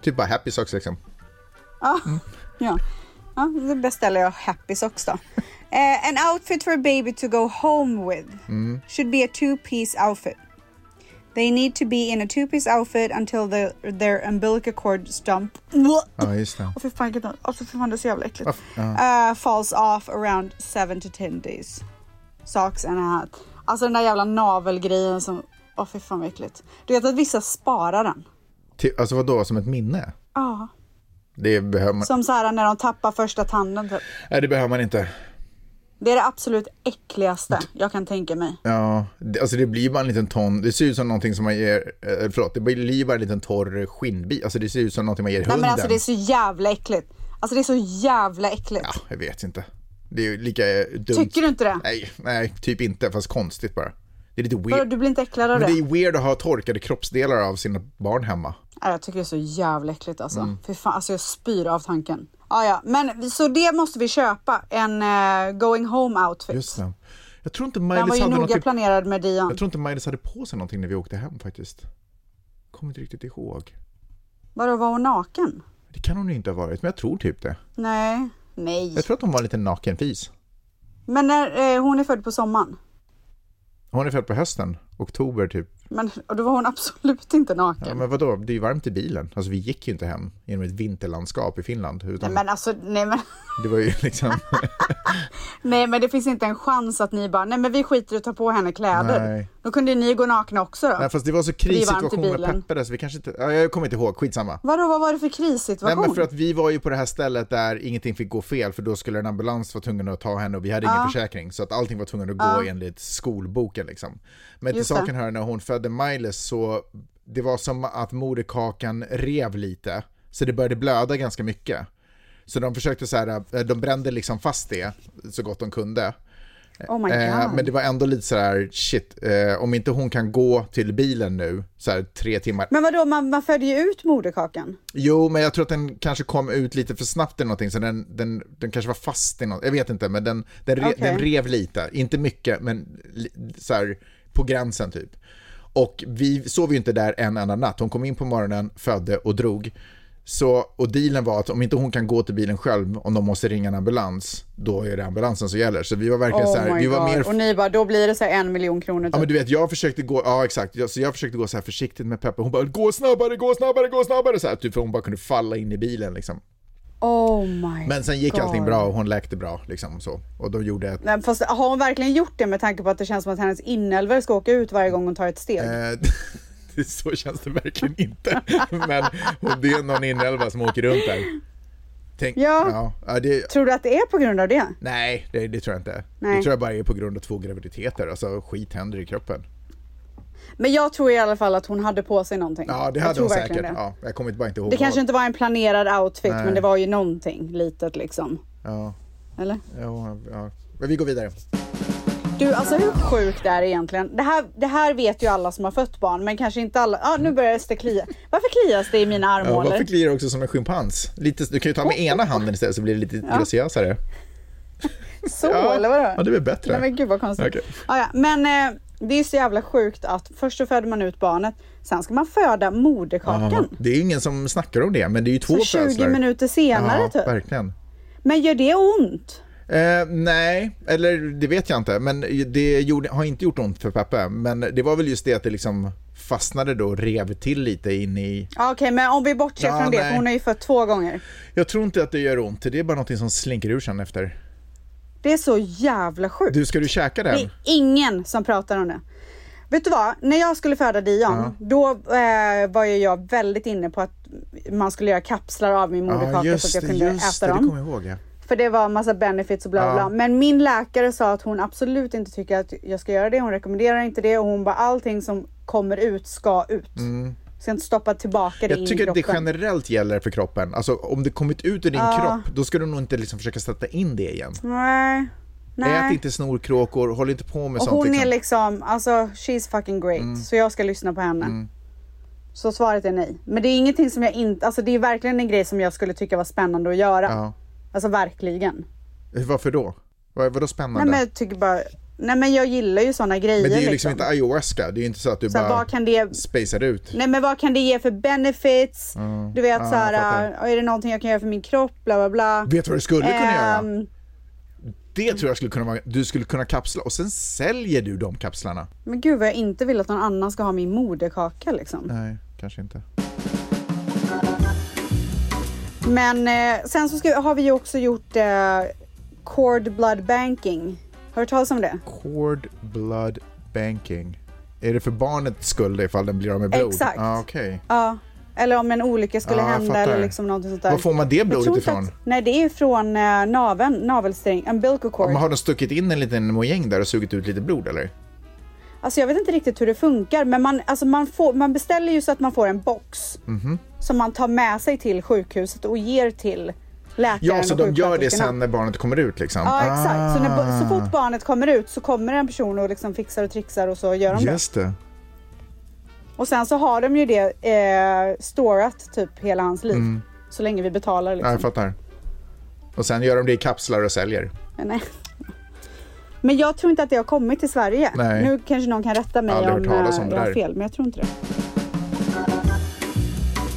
Speaker 2: Typ bara happy socks liksom.
Speaker 1: Ja. Ja. ja, då beställer jag Happy Socks då. Eh, an outfit for a baby to go home with should be a two piece outfit. They need to be in a two piece outfit until the, their umbilical cord stump.
Speaker 2: Ja, just det.
Speaker 1: Åh fy fan, vilket- alltså, fy fan, det är så jävla äckligt.
Speaker 2: Varför?
Speaker 1: Eh, falls off around seven to ten days. Socks and a hat. Alltså den där jävla navelgrejen som... Åh fy fan vad äckligt. Du vet att vissa sparar den?
Speaker 2: Ty- Alltså vadå, som ett minne?
Speaker 1: Ja.
Speaker 2: Det behöver man,
Speaker 1: Som så här när de tappar första tanden typ.
Speaker 2: Nej, det behöver man inte.
Speaker 1: Det är det absolut äckligaste jag kan tänka mig.
Speaker 2: Ja, det, alltså det blir bara en liten ton, det ser ut som någonting som man ger, eh, förlåt, det blir bara en liten torr skinnbit, alltså det ser ut som någonting man ger
Speaker 1: Nej
Speaker 2: hunden.
Speaker 1: men alltså det är så jävla äckligt. Alltså det är så jävla äckligt.
Speaker 2: Ja, jag vet inte. Det är ju lika eh, dumt.
Speaker 1: Tycker du inte det?
Speaker 2: Nej, nej, typ inte, fast konstigt bara. Det är lite
Speaker 1: Vadå,
Speaker 2: weird.
Speaker 1: Du blir inte äcklad av
Speaker 2: Men
Speaker 1: det?
Speaker 2: det är weird att ha torkade kroppsdelar av sina barn hemma.
Speaker 1: Nej, jag tycker det är så jävla äckligt alltså.
Speaker 2: Mm.
Speaker 1: Fy fan, alltså jag spyr av tanken. Ah, ja, men vi- så det måste vi köpa. En eh, going home outfit.
Speaker 2: Just det. Jag tror inte
Speaker 1: Den var
Speaker 2: Maj-Lis
Speaker 1: ju
Speaker 2: hade,
Speaker 1: noga
Speaker 2: någonting-
Speaker 1: planerad med Dion.
Speaker 2: jag tror inte Maj-Lis hade på sig någonting när vi åkte hem faktiskt. Kommer inte riktigt ihåg.
Speaker 1: Vadå, var hon naken?
Speaker 2: Det kan hon ju inte ha varit, men jag tror typ det.
Speaker 1: Nej. Nej.
Speaker 2: Jag tror att hon var en liten nakenfis.
Speaker 1: Men när, eh, hon är född på sommaren.
Speaker 2: Hon är född på hösten, oktober typ.
Speaker 1: Men, och då var hon absolut inte naken.
Speaker 2: Ja, men vadå, det är ju varmt i bilen. Alltså vi gick ju inte hem genom ett vinterlandskap i Finland.
Speaker 1: Nej,
Speaker 2: Utan
Speaker 1: men alltså, nej men.
Speaker 2: Det var ju liksom,
Speaker 1: Nej men det finns inte en chans att ni bara, nej men vi skiter i att ta på henne kläder.
Speaker 2: Nej.
Speaker 1: Då kunde ju ni gå nakna också då.
Speaker 2: nej, fast det var så krissituation
Speaker 1: Det är varmt i
Speaker 2: med
Speaker 1: bilen.
Speaker 2: Peppe där, så vi kanske inte, ja, jag kommer inte ihåg, skitsamma.
Speaker 1: Vadå vad var det för
Speaker 2: Nej
Speaker 1: krissituation?
Speaker 2: men för att vi var ju på det här stället där ingenting fick gå fel för då skulle en ambulans vara tvungen att ta henne och vi hade ingen försäkring så att allting var tvungen att gå enligt skolboken liksom. Men till
Speaker 1: Just det.
Speaker 2: saken hör när hon födde Miles så det var som att moderkakan rev lite så det började blöda ganska mycket. Så de försökte så här, eh, de brände liksom fast det så gott de kunde.
Speaker 1: Oh my god.
Speaker 2: Eh, men det var ändå lite så här shit, eh, om inte hon kan gå till bilen nu så här tre timmar
Speaker 1: Men vadå man, man födde ju ut moderkakan.
Speaker 2: Jo, men jag tror att den kanske kom ut lite för snabbt eller någonting, så den, den, den kanske var fast i något, jag vet inte, men den, den, re,
Speaker 1: Okej.
Speaker 2: den rev lite, inte mycket, men li, så här, på gränsen typ. Och vi sov ju inte där en enda natt, hon kom in på morgonen, födde och drog. Så, och dealen var att om inte hon kan gå till bilen själv, om de måste ringa en ambulans, då är det ambulansen som gäller. Så vi var verkligen så
Speaker 1: Oh
Speaker 2: här,
Speaker 1: my
Speaker 2: vi
Speaker 1: god.
Speaker 2: var mer
Speaker 1: Och ni bara, då blir det så här en miljon kronor
Speaker 2: Ja
Speaker 1: typ.
Speaker 2: men du vet, jag försökte gå, ja exakt, jag, så jag försökte gå så här försiktigt med Peppe, hon bara gå snabbare, gå snabbare, gå snabbare, så här, typ för hon bara kunde falla in i bilen liksom.
Speaker 1: Oh my
Speaker 2: Men sen gick
Speaker 1: god.
Speaker 2: allting bra och hon läkte bra liksom så. Och då gjorde jag ett...
Speaker 1: Nej, fast har hon verkligen gjort det med tanke på att det känns som att hennes inälvor ska åka ut varje gång hon tar ett steg?
Speaker 2: Eh, det- så känns det verkligen inte. men om det är någon inälva som åker runt där. Tänk,
Speaker 1: Ja.
Speaker 2: ja, ja det,
Speaker 1: Tror du att det är på grund av det?
Speaker 2: nej, det, det tror jag inte.
Speaker 1: Nej.
Speaker 2: Det tror jag bara är på grund av två graviditeter, alltså skit händer i kroppen.
Speaker 1: Men jag tror i alla fall att hon hade på sig någonting.
Speaker 2: Ja, det
Speaker 1: Jag
Speaker 2: hade
Speaker 1: tror
Speaker 2: hon
Speaker 1: verkligen
Speaker 2: säkert.
Speaker 1: Det.
Speaker 2: Ja, jag kommer bara inte ihåg
Speaker 1: det kanske
Speaker 2: vad.
Speaker 1: inte var en planerad outfit, men det var ju någonting litet liksom.
Speaker 2: Ja,
Speaker 1: Eller?
Speaker 2: ja, ja. Men vi går vidare.
Speaker 1: Du, alltså hur sjukt är det egentligen? Det här, det här vet ju alla som har fött barn, men kanske inte alla. Ja, ah, nu börjar det klia. Varför klias det i mina
Speaker 2: Ja,
Speaker 1: armhålor?
Speaker 2: varför kliar du också som en schimpans? Lite, du kan ju ta med ena handen istället så blir det lite graciösare.
Speaker 1: Så,
Speaker 2: Ja,
Speaker 1: eller vadå?
Speaker 2: ja, det är väl bättre.
Speaker 1: Nej, men gud vad konstigt.
Speaker 2: Okej.
Speaker 1: Ja, ja. Men eh, det är så jävla sjukt att först så föder man ut barnet, sen ska man föda moderkakan.
Speaker 2: Det är ju ingen som snackar om det, men det är ju två
Speaker 1: Så 20
Speaker 2: födslar.
Speaker 1: minuter senare
Speaker 2: ja,
Speaker 1: typ.
Speaker 2: verkligen.
Speaker 1: Men gör det ont?
Speaker 2: Eh, nej, eller det vet jag inte, men det gjorde, har inte gjort ont för Peppe. Men det var väl just det att det liksom fastnade då och rev till lite in i...
Speaker 1: Ja, Okej, men om vi bortser
Speaker 2: Ja,
Speaker 1: från det, för
Speaker 2: nej.
Speaker 1: hon har ju fött två gånger.
Speaker 2: Jag tror inte att det gör ont, det är bara någonting som slinker ur sen efter.
Speaker 1: Det är så jävla sjukt.
Speaker 2: Du, ska du käka den?
Speaker 1: Det är ingen som pratar om det. Vet du vad? När jag skulle föda Dion, då eh, var ju jag väldigt inne på att man skulle göra kapslar av min moderkaka så att jag kunde
Speaker 2: just
Speaker 1: äta
Speaker 2: det, det
Speaker 1: dem.
Speaker 2: kommer jag ihåg. Ja.
Speaker 1: För det var massa benefits och bla bla.
Speaker 2: Ja.
Speaker 1: bla. Men min läkare sa att hon absolut inte tycker att jag ska göra det. Hon rekommenderar inte det och hon bara allting som kommer ut ska ut. Ska inte stoppa tillbaka det in
Speaker 2: Mm. Jag tycker
Speaker 1: i
Speaker 2: att det
Speaker 1: kroppen.
Speaker 2: generellt gäller för kroppen. Alltså om det kommit ut ur din kropp, då ska du nog inte liksom försöka sätta in det igen.
Speaker 1: Nej.
Speaker 2: Ät
Speaker 1: Nej.
Speaker 2: inte snorkråkor, håll inte på med
Speaker 1: Och
Speaker 2: sånt.
Speaker 1: hon
Speaker 2: liksom. Mm.
Speaker 1: är liksom, alltså she's fucking great. Så jag ska lyssna på henne. Så svaret är nej. Men det är ingenting som jag inte, alltså det är verkligen en grej som jag skulle tycka var spännande att göra.
Speaker 2: ja.
Speaker 1: Alltså verkligen.
Speaker 2: Varför då? Vad, vadå
Speaker 1: Nej
Speaker 2: spännande?
Speaker 1: men
Speaker 2: men,
Speaker 1: jag tycker bara, nej men jag gillar ju sådana grejer
Speaker 2: det är ju liksom inte ayahuasca, det är ju inte så att du
Speaker 1: så här,
Speaker 2: bara
Speaker 1: vad kan det
Speaker 2: spacear ut.
Speaker 1: Nej men vad kan det ge för benefits? Du vet
Speaker 2: Mm. Ja,
Speaker 1: så här,
Speaker 2: jag
Speaker 1: äh, är det någonting jag kan göra för min kropp? Bla bla bla.
Speaker 2: Vet du vad du skulle kunna göra?
Speaker 1: Ehm,
Speaker 2: Det tror jag skulle kunna vara, du skulle kunna kapsla och sen säljer du de kapslarna.
Speaker 1: Men gud vad jag inte vill att någon annan ska ha min moderkaka liksom.
Speaker 2: Nej, kanske inte.
Speaker 1: Men eh, sen så ska, har vi ju också gjort eh, cord blood banking. Har du hört talas om det?
Speaker 2: Cord blood banking. Är det för barnets skull ifall den blir av med blod?
Speaker 1: Exakt.
Speaker 2: Ah, okej.
Speaker 1: Ja. Eller om en olycka skulle
Speaker 2: Ja, jag
Speaker 1: hända
Speaker 2: fattar.
Speaker 1: eller liksom någonting sånt där.
Speaker 2: Var får man det
Speaker 1: Jag
Speaker 2: blodet
Speaker 1: tror inte
Speaker 2: ifrån?
Speaker 1: Att, nej det är från eh, naveln, navelsträng, umbilical cord.
Speaker 2: Men har de stuckit in en liten mojäng där och sugit ut lite blod eller?
Speaker 1: Alltså jag vet inte riktigt hur det funkar men man, alltså man, får, man beställer ju så att man får en box
Speaker 2: Mhm.
Speaker 1: som man tar med sig till sjukhuset och ger till läkaren
Speaker 2: Ja, så
Speaker 1: och
Speaker 2: de gör det
Speaker 1: sjuksköterskorna.
Speaker 2: sen när barnet kommer ut liksom?
Speaker 1: Ja exakt, så, när, ba-
Speaker 2: Ah,
Speaker 1: så fort barnet kommer ut så kommer en person och liksom fixar och trixar och så gör de det.
Speaker 2: Just det.
Speaker 1: Och sen så har de ju det eh, storat typ hela hans liv. Så länge vi betalar
Speaker 2: Ja,
Speaker 1: liksom.
Speaker 2: Mm. jag fattar. Och sen gör de det i kapslar och säljer.
Speaker 1: Men Nej. Men jag tror inte att det har kommit till Sverige.
Speaker 2: Nej.
Speaker 1: Nu kanske någon kan rätta mig
Speaker 2: Aldrig
Speaker 1: om,
Speaker 2: hört talas om
Speaker 1: eh,
Speaker 2: det
Speaker 1: jag har
Speaker 2: där.
Speaker 1: fel, men jag tror inte det.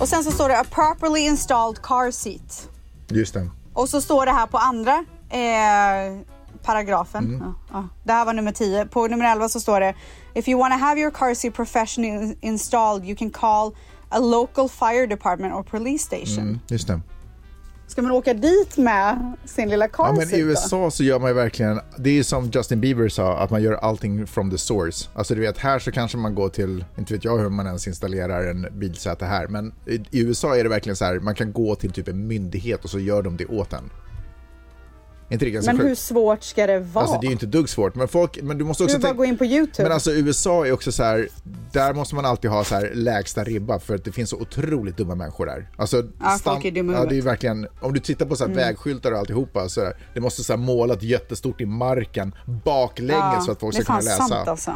Speaker 1: Och sen så står det a properly installed car seat.
Speaker 2: Just det.
Speaker 1: Och så står det här på andra eh, paragrafen.
Speaker 2: Mm.
Speaker 1: Ja, ja. Det här var nummer 10. På nummer 11 så står det If you want to have your car seat professionally in- installed you can call a local fire department or police station.
Speaker 2: Just det.
Speaker 1: Ska man åka dit med sin lilla car
Speaker 2: Ja, men
Speaker 1: seat
Speaker 2: I
Speaker 1: då?
Speaker 2: USA så gör man ju verkligen, det är ju som Justin Bieber sa, att man gör allting from the source. Alltså du vet, här så kanske man går till, inte vet jag hur man ens installerar en bilsäte här, men i i USA är det verkligen så här, man kan gå till typ en myndighet och så gör de det åt en. Är inte det ganska
Speaker 1: Men
Speaker 2: sjukt?
Speaker 1: hur svårt ska det vara?
Speaker 2: Alltså det är ju inte ett dugg svårt, men, folk, men du måste
Speaker 1: Du
Speaker 2: också
Speaker 1: är bara
Speaker 2: tänka-
Speaker 1: gå in på YouTube.
Speaker 2: Men alltså USA är också så här, där måste man alltid ha så här lägsta ribba för att det finns så otroligt dumma människor där. Alltså,
Speaker 1: Ja, folk är dumma i
Speaker 2: ja, det är ju
Speaker 1: huvudet. Mm.
Speaker 2: verkligen, om du tittar på så här vägskyltar och alltihopa, så här, det måste så här målat jättestort i marken baklänges så att folk
Speaker 1: det är
Speaker 2: ska kunna
Speaker 1: fan
Speaker 2: läsa.
Speaker 1: sant alltså.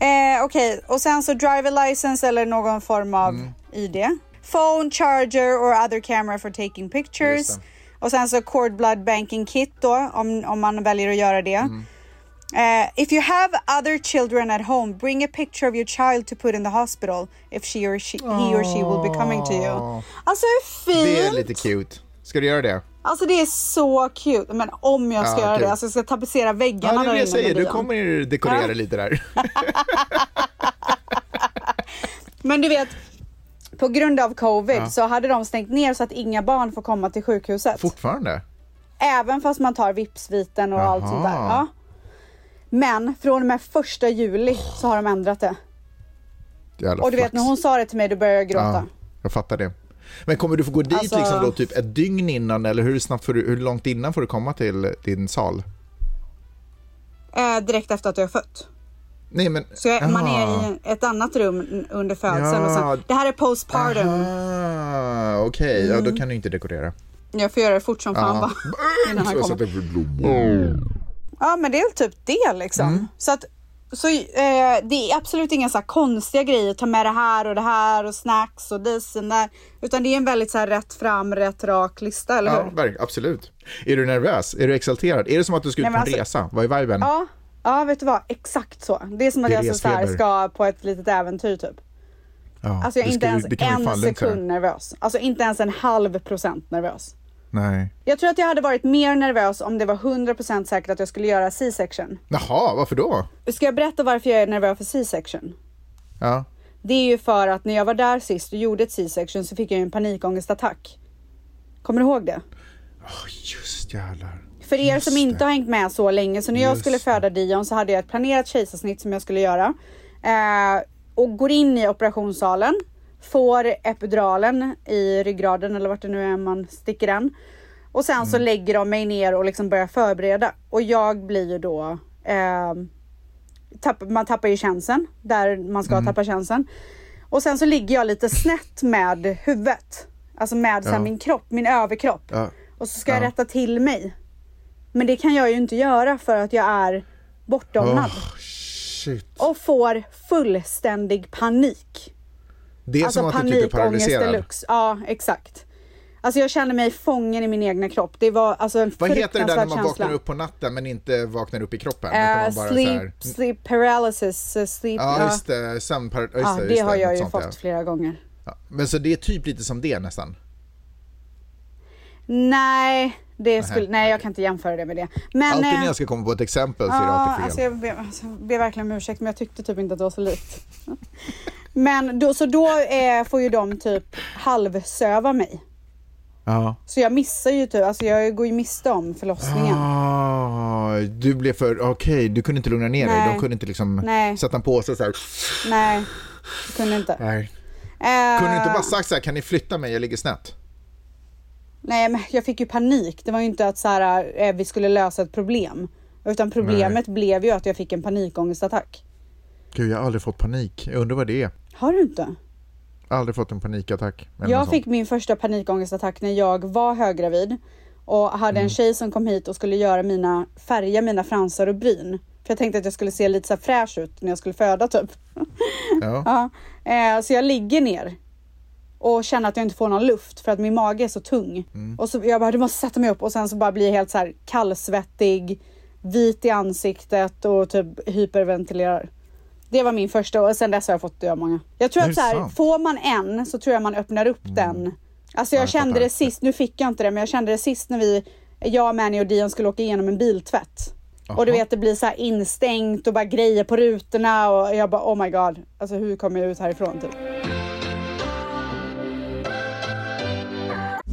Speaker 1: Eh, Okej, och sen så driver license eller någon form av
Speaker 2: Mm.
Speaker 1: ID. Phone, charger or other camera for taking pictures.
Speaker 2: Just Mm.
Speaker 1: Och sen så cord blood banking kit då, om, om man väljer att göra det. Uh, if you have other children at home, bring a picture of your child to put in the hospital if she or she, he or she will be coming to you. Alltså hur fint!
Speaker 2: Det är lite cute. Ska du göra det?
Speaker 1: Alltså det är så cute. Men om jag ska
Speaker 2: Ja,
Speaker 1: göra
Speaker 2: kul.
Speaker 1: det, alltså jag ska tapetsera
Speaker 2: Ja,
Speaker 1: väggarna
Speaker 2: det
Speaker 1: där
Speaker 2: är det jag
Speaker 1: inne med
Speaker 2: säger. Du
Speaker 1: lyon.
Speaker 2: kommer ju dekorera lite där.
Speaker 1: Men du vet, på grund av covid så hade de stängt ner så att inga barn får komma till sjukhuset.
Speaker 2: Fortfarande?
Speaker 1: Även fast man tar vipsviten och allt sånt där.
Speaker 2: Jaha.
Speaker 1: Ja. Men från och med första juli så har de ändrat det.
Speaker 2: Jävla
Speaker 1: Och du vet
Speaker 2: fax.
Speaker 1: när hon sa det till mig då började jag gråta.
Speaker 2: Ja, jag fattar det. Men kommer du få gå dit
Speaker 1: Alltså-
Speaker 2: liksom då, typ ett dygn innan eller hur, snabbt får du, hur långt innan får du komma till din sal?
Speaker 1: Eh, direkt efter att jag är fött.
Speaker 2: Nej men...
Speaker 1: Så jag, man
Speaker 2: Aha.
Speaker 1: är i ett annat rum n- under födseln.
Speaker 2: Ja.
Speaker 1: Och sen, det här är postpartum.
Speaker 2: Ah. Aha, Okej, ja, då kan du inte dekorera. Ah.
Speaker 1: Jag får göra det fort som fan bara. Innan han
Speaker 2: Så att
Speaker 1: kommer.
Speaker 2: det blir blommor.
Speaker 1: Ja men det är väl typ det liksom.
Speaker 2: Mm.
Speaker 1: Så att så, eh, det är absolut inga så här konstiga grejer, ta med det här och det här och snacks och this and that. Utan det är en väldigt så här rätt fram, rätt rak lista, eller
Speaker 2: Ja,
Speaker 1: hur?
Speaker 2: verk- absolut. Är du nervös? Är du exalterad? Är det som att du ska ut
Speaker 1: Nej,
Speaker 2: på en
Speaker 1: men alltså-
Speaker 2: resa? Vad är viben?
Speaker 1: Ja, ja vet du vad, exakt så. Det är som att
Speaker 2: Det är
Speaker 1: jag så så här,
Speaker 2: resfeber.
Speaker 1: ska på ett litet äventyr typ.
Speaker 2: Ja,
Speaker 1: Alltså jag
Speaker 2: det
Speaker 1: är inte
Speaker 2: ska-
Speaker 1: ens
Speaker 2: det kan ju
Speaker 1: en
Speaker 2: fan lugnt säga.
Speaker 1: sekund nervös. Alltså inte ens en halv procent nervös.
Speaker 2: Nej.
Speaker 1: Jag tror att jag hade varit mer nervös om det var 100% säkert att jag skulle göra C-section.
Speaker 2: Jaha, varför då?
Speaker 1: Ska jag berätta varför jag är nervös för C-section?
Speaker 2: Ja.
Speaker 1: Det är ju för att när jag var där sist och gjorde ett C-section så fick jag ju en panikångestattack. Kommer du ihåg det?
Speaker 2: Åh, Just jävlar.
Speaker 1: För er som inte har hängt med så länge, så när jag skulle föda Dion så hade jag ett planerat kejsarsnitt som jag skulle göra. Eh, och går in i operationssalen, får epiduralen i ryggraden eller vart det nu är man sticker den. Och sen
Speaker 2: Mm.
Speaker 1: så lägger de mig ner och liksom börjar förbereda. Och jag blir ju då... ehm, tapp, man tappar ju känseln där man ska
Speaker 2: Mm.
Speaker 1: tappa känseln. Och sen så ligger jag lite snett med huvudet. Alltså med så här,
Speaker 2: Ja.
Speaker 1: min kropp, min överkropp.
Speaker 2: Ja.
Speaker 1: Och så ska jag
Speaker 2: Ja.
Speaker 1: rätta till mig. Men det kan jag ju inte göra för att jag är bortdomnad.
Speaker 2: Åh, shit.
Speaker 1: Och får fullständig panik.
Speaker 2: Det
Speaker 1: Alltså,
Speaker 2: är som att du typ är paralyserad.
Speaker 1: deluxe. Ja, exakt. Alltså jag kände mig fången i min egna kropp. Det var alltså en
Speaker 2: Vad heter det där när
Speaker 1: fruktansvärd
Speaker 2: man
Speaker 1: känsla.
Speaker 2: vaknar upp på natten men inte vaknar upp i kroppen? utan
Speaker 1: Eh,
Speaker 2: man bara så här- Mm.
Speaker 1: sleep, sleep paralysis, eh, sleep...
Speaker 2: Ja, just det. Sömnpar... Ja, just
Speaker 1: Ja,
Speaker 2: det,
Speaker 1: det
Speaker 2: just
Speaker 1: har jag
Speaker 2: något
Speaker 1: ju
Speaker 2: sånt,
Speaker 1: fått
Speaker 2: ja.
Speaker 1: flera gånger.
Speaker 2: Ja. Men så det är typ lite som det nästan?
Speaker 1: Nej, det skulle, nej jag kan inte jämföra det med det. Men,
Speaker 2: Alltid
Speaker 1: eh,
Speaker 2: när jag ska komma på ett exempel så är det
Speaker 1: Ja,
Speaker 2: alltid fel.
Speaker 1: alltså jag ber, alltså, jag ber verkligen om ursäkt men jag tyckte typ inte att det var så likt. Men då, så då eh, får ju de typ halvsöva mig.
Speaker 2: Ja.
Speaker 1: Så jag missar ju typ, alltså jag går ju miste om förlossningen.
Speaker 2: Ah, du blev för, okej, du kunde inte lugna ner dig.
Speaker 1: Nej.
Speaker 2: De kunde inte liksom
Speaker 1: Nej.
Speaker 2: sätta en påse så här.
Speaker 1: Nej, jag kunde inte.
Speaker 2: Nej.
Speaker 1: Eh,
Speaker 2: Kunde du inte bara sagt så här, kan ni flytta mig, jag ligger snett?
Speaker 1: Nej men jag fick ju panik. Det var ju inte att så här, eh, vi skulle lösa ett problem. Utan problemet blev ju att jag fick en panikångestattack.
Speaker 2: Gud, jag har aldrig fått panik. Jag undrar vad det är.
Speaker 1: Har du inte?
Speaker 2: Aldrig fått en panikattack. eller något
Speaker 1: Jag
Speaker 2: sånt.
Speaker 1: fick min första panikångestattack när jag var höggravid och hade
Speaker 2: Mm.
Speaker 1: en tjej som kom hit och skulle göra mina, färga mina fransar och bryn. För jag tänkte att jag skulle se lite så här fräsch ut när jag skulle föda typ.
Speaker 2: Ja.
Speaker 1: Ja. Eh, så jag ligger ner och känner att jag inte får någon luft för att min mage är så tung.
Speaker 2: Mm.
Speaker 1: Och så jag bara, du måste sätta mig upp och sen så bara blir jag helt så här kallsvettig, vit i ansiktet och typ hyperventilerar. Det var min första och sen dess har jag fått det många. Jag tror
Speaker 2: Är
Speaker 1: att
Speaker 2: det
Speaker 1: så här,
Speaker 2: sant? Mm.
Speaker 1: får man en så tror jag man öppnar upp den. Alltså jag,
Speaker 2: jag
Speaker 1: kände
Speaker 2: fattar.
Speaker 1: det sist, nu fick jag inte det men jag kände det sist när vi, jag, Mani och Dion skulle åka igenom en biltvätt. Och du vet det blir så här instängt och bara grejer på rutorna och jag bara oh my god, alltså hur kommer jag ut härifrån typ?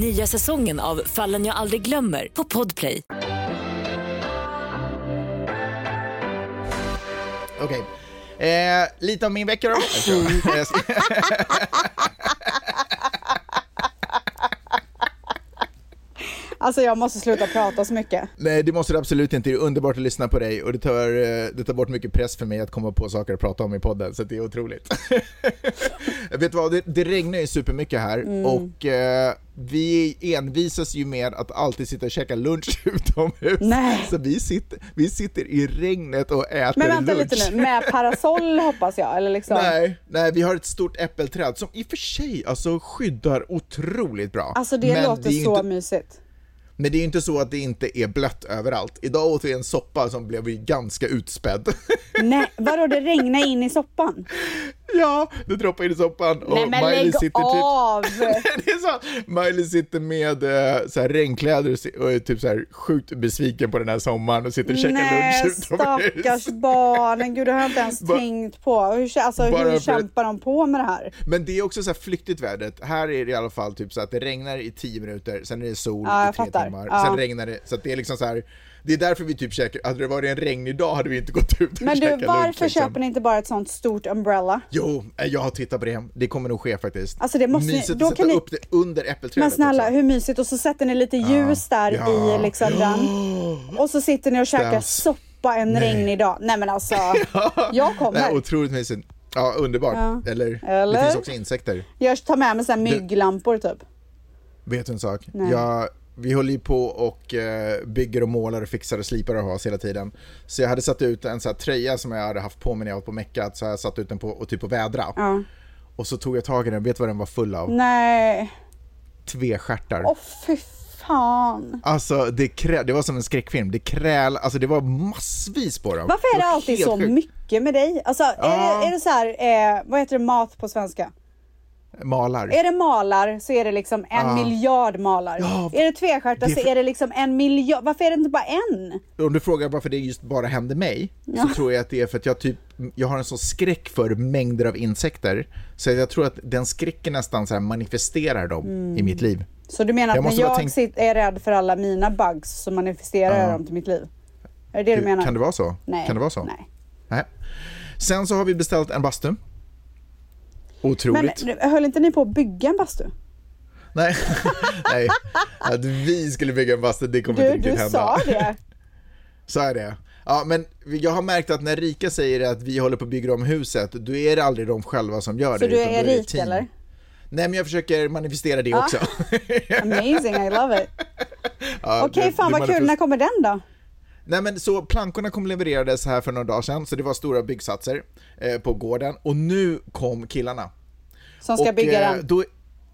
Speaker 4: Nya säsongen av Fallen jag aldrig glömmer på Podplay.
Speaker 2: Okej. Eh, lite om min vecka då.
Speaker 1: Mm.
Speaker 2: Eh, Jag ska-
Speaker 1: Ja Alltså jag måste sluta prata så mycket.
Speaker 2: Nej, det måste du absolut inte. Det är underbart att lyssna på dig och det tar, eh, det tar bort mycket press för mig att komma på saker att prata om i podden, så att det är otroligt. Vet du vad, det, det regnar ju supermycket här
Speaker 1: Mm.
Speaker 2: och eh, vi envisas ju med att alltid sitta och käka lunch utomhus.
Speaker 1: Nej.
Speaker 2: Så vi sitter, vi sitter i regnet och äter
Speaker 1: Men vänta
Speaker 2: lunch.
Speaker 1: lite nu, med parasoll hoppas jag, eller liksom.
Speaker 2: Nej, nej, vi har ett stort äppelträd som i och för sig alltså, skyddar otroligt bra.
Speaker 1: Alltså det
Speaker 2: Men
Speaker 1: låter
Speaker 2: är ju
Speaker 1: så
Speaker 2: inte,
Speaker 1: mysigt.
Speaker 2: Men det är ju inte så att det inte är blött överallt. Idag åt vi en soppa som blev ju ganska utspädd.
Speaker 1: Nej, vadå det regnar in i soppan?
Speaker 2: ja, det droppade in i soppan och typ-
Speaker 1: Nej men lägg av!
Speaker 2: det är så, Miley sitter med eh, så här, regnkläder och si- och är typ så här, sjukt besviken på den här sommaren och sitter och käkar
Speaker 1: Nej,
Speaker 2: lunch utomhus.
Speaker 1: stackars barnen. Gud, det har jag inte ens
Speaker 2: Ba-
Speaker 1: tänkt på. Hur, kä- alltså,
Speaker 2: Bara
Speaker 1: hur
Speaker 2: för-
Speaker 1: kämpar de på med det här?
Speaker 2: Men det är också så här flyktigt vädret. Här är det i alla fall typ så att det regnar i 10 minuter, sen är det sol
Speaker 1: Ja,
Speaker 2: i
Speaker 1: jag
Speaker 2: tre
Speaker 1: fattar.
Speaker 2: timmar,
Speaker 1: Ja.
Speaker 2: sen regnar det. Så att det är liksom så här, det är därför vi typ käkar, hade det varit en regnig dag hade vi inte gått ut och
Speaker 1: Men du,
Speaker 2: käkat lunch,
Speaker 1: varför
Speaker 2: liksom.
Speaker 1: köper ni inte bara ett sånt stort umbrella?
Speaker 2: Jo, eh, jag har tittat på det. Det kommer nog ske faktiskt.
Speaker 1: Alltså, det måste ni-
Speaker 2: Mysigt
Speaker 1: då
Speaker 2: att sätta
Speaker 1: kan ni-
Speaker 2: upp det under äppelträdet
Speaker 1: Men snälla,
Speaker 2: också.
Speaker 1: hur mysigt? Och så sätter ni lite ljus där
Speaker 2: Ja.
Speaker 1: i liksom den. Och så sitter ni och käkar
Speaker 2: Ställs.
Speaker 1: soppa en regnig dag. Nej men alltså, jag
Speaker 2: Nej,
Speaker 1: kommer.
Speaker 2: otroligt mysigt. Ja, underbart.
Speaker 1: Ja.
Speaker 2: Eller,
Speaker 1: Eller?
Speaker 2: Det finns också insekter.
Speaker 1: Jag tar med mig så här mygglampor typ.
Speaker 2: Vet du en sak?
Speaker 1: Nej.
Speaker 2: Jag, vi håller ju på och eh, bygger och målar och fixar och slipar och har oss hela tiden. Så jag hade satt ut en sån här tröja som jag hade haft på mig när jag var på Mecka, så jag satt ut den på och typ på vädra.
Speaker 1: Ja.
Speaker 2: Och så tog jag tag i den, vet du vad den var full av?
Speaker 1: Nej,
Speaker 2: Tvestjärtar.
Speaker 1: åh fy fan.
Speaker 2: Alltså det, krä, det var som en skräckfilm, det kräl, alltså det var massvis på dem.
Speaker 1: Varför är det
Speaker 2: var
Speaker 1: alltid
Speaker 2: helt
Speaker 1: så
Speaker 2: sjukt.
Speaker 1: mycket med dig? Alltså är,
Speaker 2: Ja.
Speaker 1: det, är det så här, eh, vad heter det, mat på svenska?
Speaker 2: Malar.
Speaker 1: Är det malar så är det liksom en
Speaker 2: Ja.
Speaker 1: miljard malar.
Speaker 2: Ja,
Speaker 1: är det tvestjärtar
Speaker 2: det är
Speaker 1: så
Speaker 2: för-
Speaker 1: är det liksom en miljard. Varför är det inte bara en?
Speaker 2: Om du frågar varför det just bara hände mig, så tror jag att det är för att jag, typ, jag har en sån skräck för mängder av insekter, så jag tror att den skräcken nästan så här manifesterar dem i mitt liv.
Speaker 1: Så du menar
Speaker 2: Jag
Speaker 1: att när
Speaker 2: måste bara
Speaker 1: jag
Speaker 2: tänk-
Speaker 1: sit- är rädd för alla mina bugs så manifesterar jag dem till mitt liv? Är det det du, menar?
Speaker 2: Kan det vara så?
Speaker 1: Nej.
Speaker 2: Kan det vara så?
Speaker 1: Nej.
Speaker 2: Nej. Sen så har vi beställt en bastu.
Speaker 1: Men
Speaker 2: Otroligt.
Speaker 1: nu, höll inte ni på att bygga en bastu?
Speaker 2: Nej. Nej. Att vi skulle bygga en bastu, det kommer
Speaker 1: Du,
Speaker 2: inte riktigt
Speaker 1: du
Speaker 2: hända.
Speaker 1: sa det.
Speaker 2: Så är det. Ja, men jag har märkt att när Rika säger att vi håller på att bygga om huset, då är det aldrig de själva som
Speaker 1: Så
Speaker 2: gör det.
Speaker 1: du
Speaker 2: utan
Speaker 1: är
Speaker 2: då det
Speaker 1: rik
Speaker 2: team.
Speaker 1: eller?
Speaker 2: Nej, men jag försöker manifestera
Speaker 1: Ah,
Speaker 2: det också.
Speaker 1: Amazing, I love it.
Speaker 2: Ja,
Speaker 1: Okej,
Speaker 2: det-
Speaker 1: fan
Speaker 2: det
Speaker 1: vad kul.
Speaker 2: manifest-
Speaker 1: När kommer den då?
Speaker 2: Nej men så plankorna kom levererades här för några dagar sedan, så det var stora byggsatser eh, på gården. Och nu kom killarna.
Speaker 1: Som ska
Speaker 2: och,
Speaker 1: bygga
Speaker 2: eh,
Speaker 1: den?
Speaker 2: Då,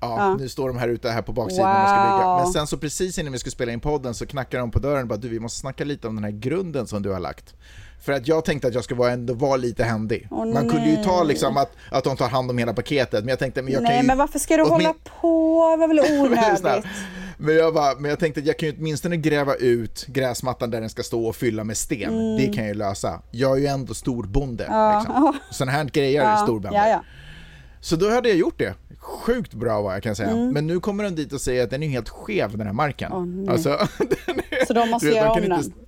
Speaker 2: ja, nu står de här ute här på baksidan
Speaker 1: Wow.
Speaker 2: och ska bygga. Men sen så precis innan vi skulle spela in podden så knackade de på dörren och bara du vi måste snacka lite om den här grunden som du har lagt. För att jag tänkte att jag skulle vara, ändå vara lite händig.
Speaker 1: Åh,
Speaker 2: Man kunde ju ta
Speaker 1: nej.
Speaker 2: liksom att, att de tar hand om hela paketet, men jag tänkte men jag kan
Speaker 1: Nej,
Speaker 2: ju...
Speaker 1: men varför ska du
Speaker 2: åtmin-
Speaker 1: hålla på? Det var väl
Speaker 2: Men lyssna.
Speaker 1: onödigt?
Speaker 2: Men jag, bara, men jag tänkte att jag kan ju åtminstone gräva ut gräsmattan där den ska stå och fylla med sten.
Speaker 1: Mm.
Speaker 2: Det kan jag ju lösa. Jag är ju ändå storbonde. Liksom. Sådana här grejer är storbönder.
Speaker 1: ja, ja.
Speaker 2: Så då hade jag gjort det. Sjukt bra vad jag kan säga.
Speaker 1: Mm.
Speaker 2: Men nu kommer de dit och säger att den är ju helt skev den här marken. alltså, den är,
Speaker 1: Så de måste
Speaker 2: du
Speaker 1: göra
Speaker 2: kan
Speaker 1: om
Speaker 2: inte,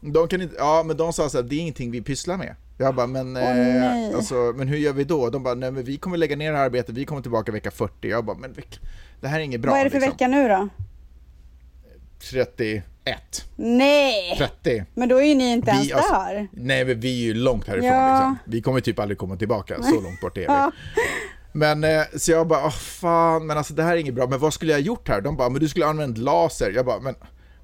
Speaker 2: De kan inte, ja men de sa så här, det är ingenting vi pysslar med. Jag bara, men,
Speaker 1: nej.
Speaker 2: eh, alltså, men hur gör vi då? De bara, nej men vi kommer lägga ner det här arbetet, vi kommer tillbaka vecka 40. Jag bara, men veck- det här är inget bra.
Speaker 1: Vad är det för
Speaker 2: liksom.
Speaker 1: vecka nu då?
Speaker 2: 31.
Speaker 1: Nej,
Speaker 2: 30.
Speaker 1: men då är ju ni inte ens
Speaker 2: alltså-
Speaker 1: där.
Speaker 2: nej men vi är ju långt härifrån
Speaker 1: Ja.
Speaker 2: liksom. Vi kommer typ aldrig komma tillbaka, så långt bort är vi. Men eh, så jag bara, åh fan, men alltså det här är inget bra, men vad skulle jag ha gjort här? De bara, men du skulle ha använt laser. Jag bara, men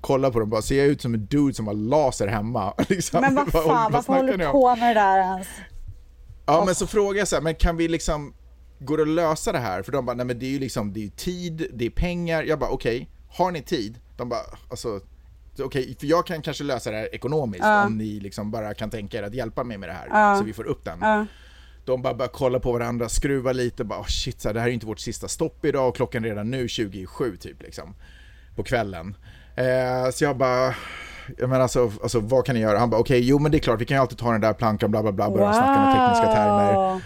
Speaker 2: kolla på dem bara, ser jag ut som en dude som har laser hemma? Liksom.
Speaker 1: Men vad fan, varför håller
Speaker 2: snackar ni
Speaker 1: du
Speaker 2: om?
Speaker 1: på med det där ens?
Speaker 2: Ja men så frågade jag så här, men kan vi liksom, går det att lösa det här? För de bara, nej men det är ju liksom, det är ju tid, det är pengar. Jag bara, okej, har ni tid? De bara, alltså, så okej, för jag kan kanske lösa det här ekonomiskt om ni liksom bara kan tänka er att hjälpa mig med det här, så vi får upp den. De bara börjar kolla på varandra, skruva lite, bara oh shit, så här, det här är ju inte vårt sista stopp idag och klockan är redan nu 27 typ liksom, på kvällen. Eh, så jag bara, jag menar alltså, alltså vad kan ni göra? Han bara okej, jo men det är klart vi kan ju alltid ta den där plankan bla bla bla, börjar de snacka med tekniska termer.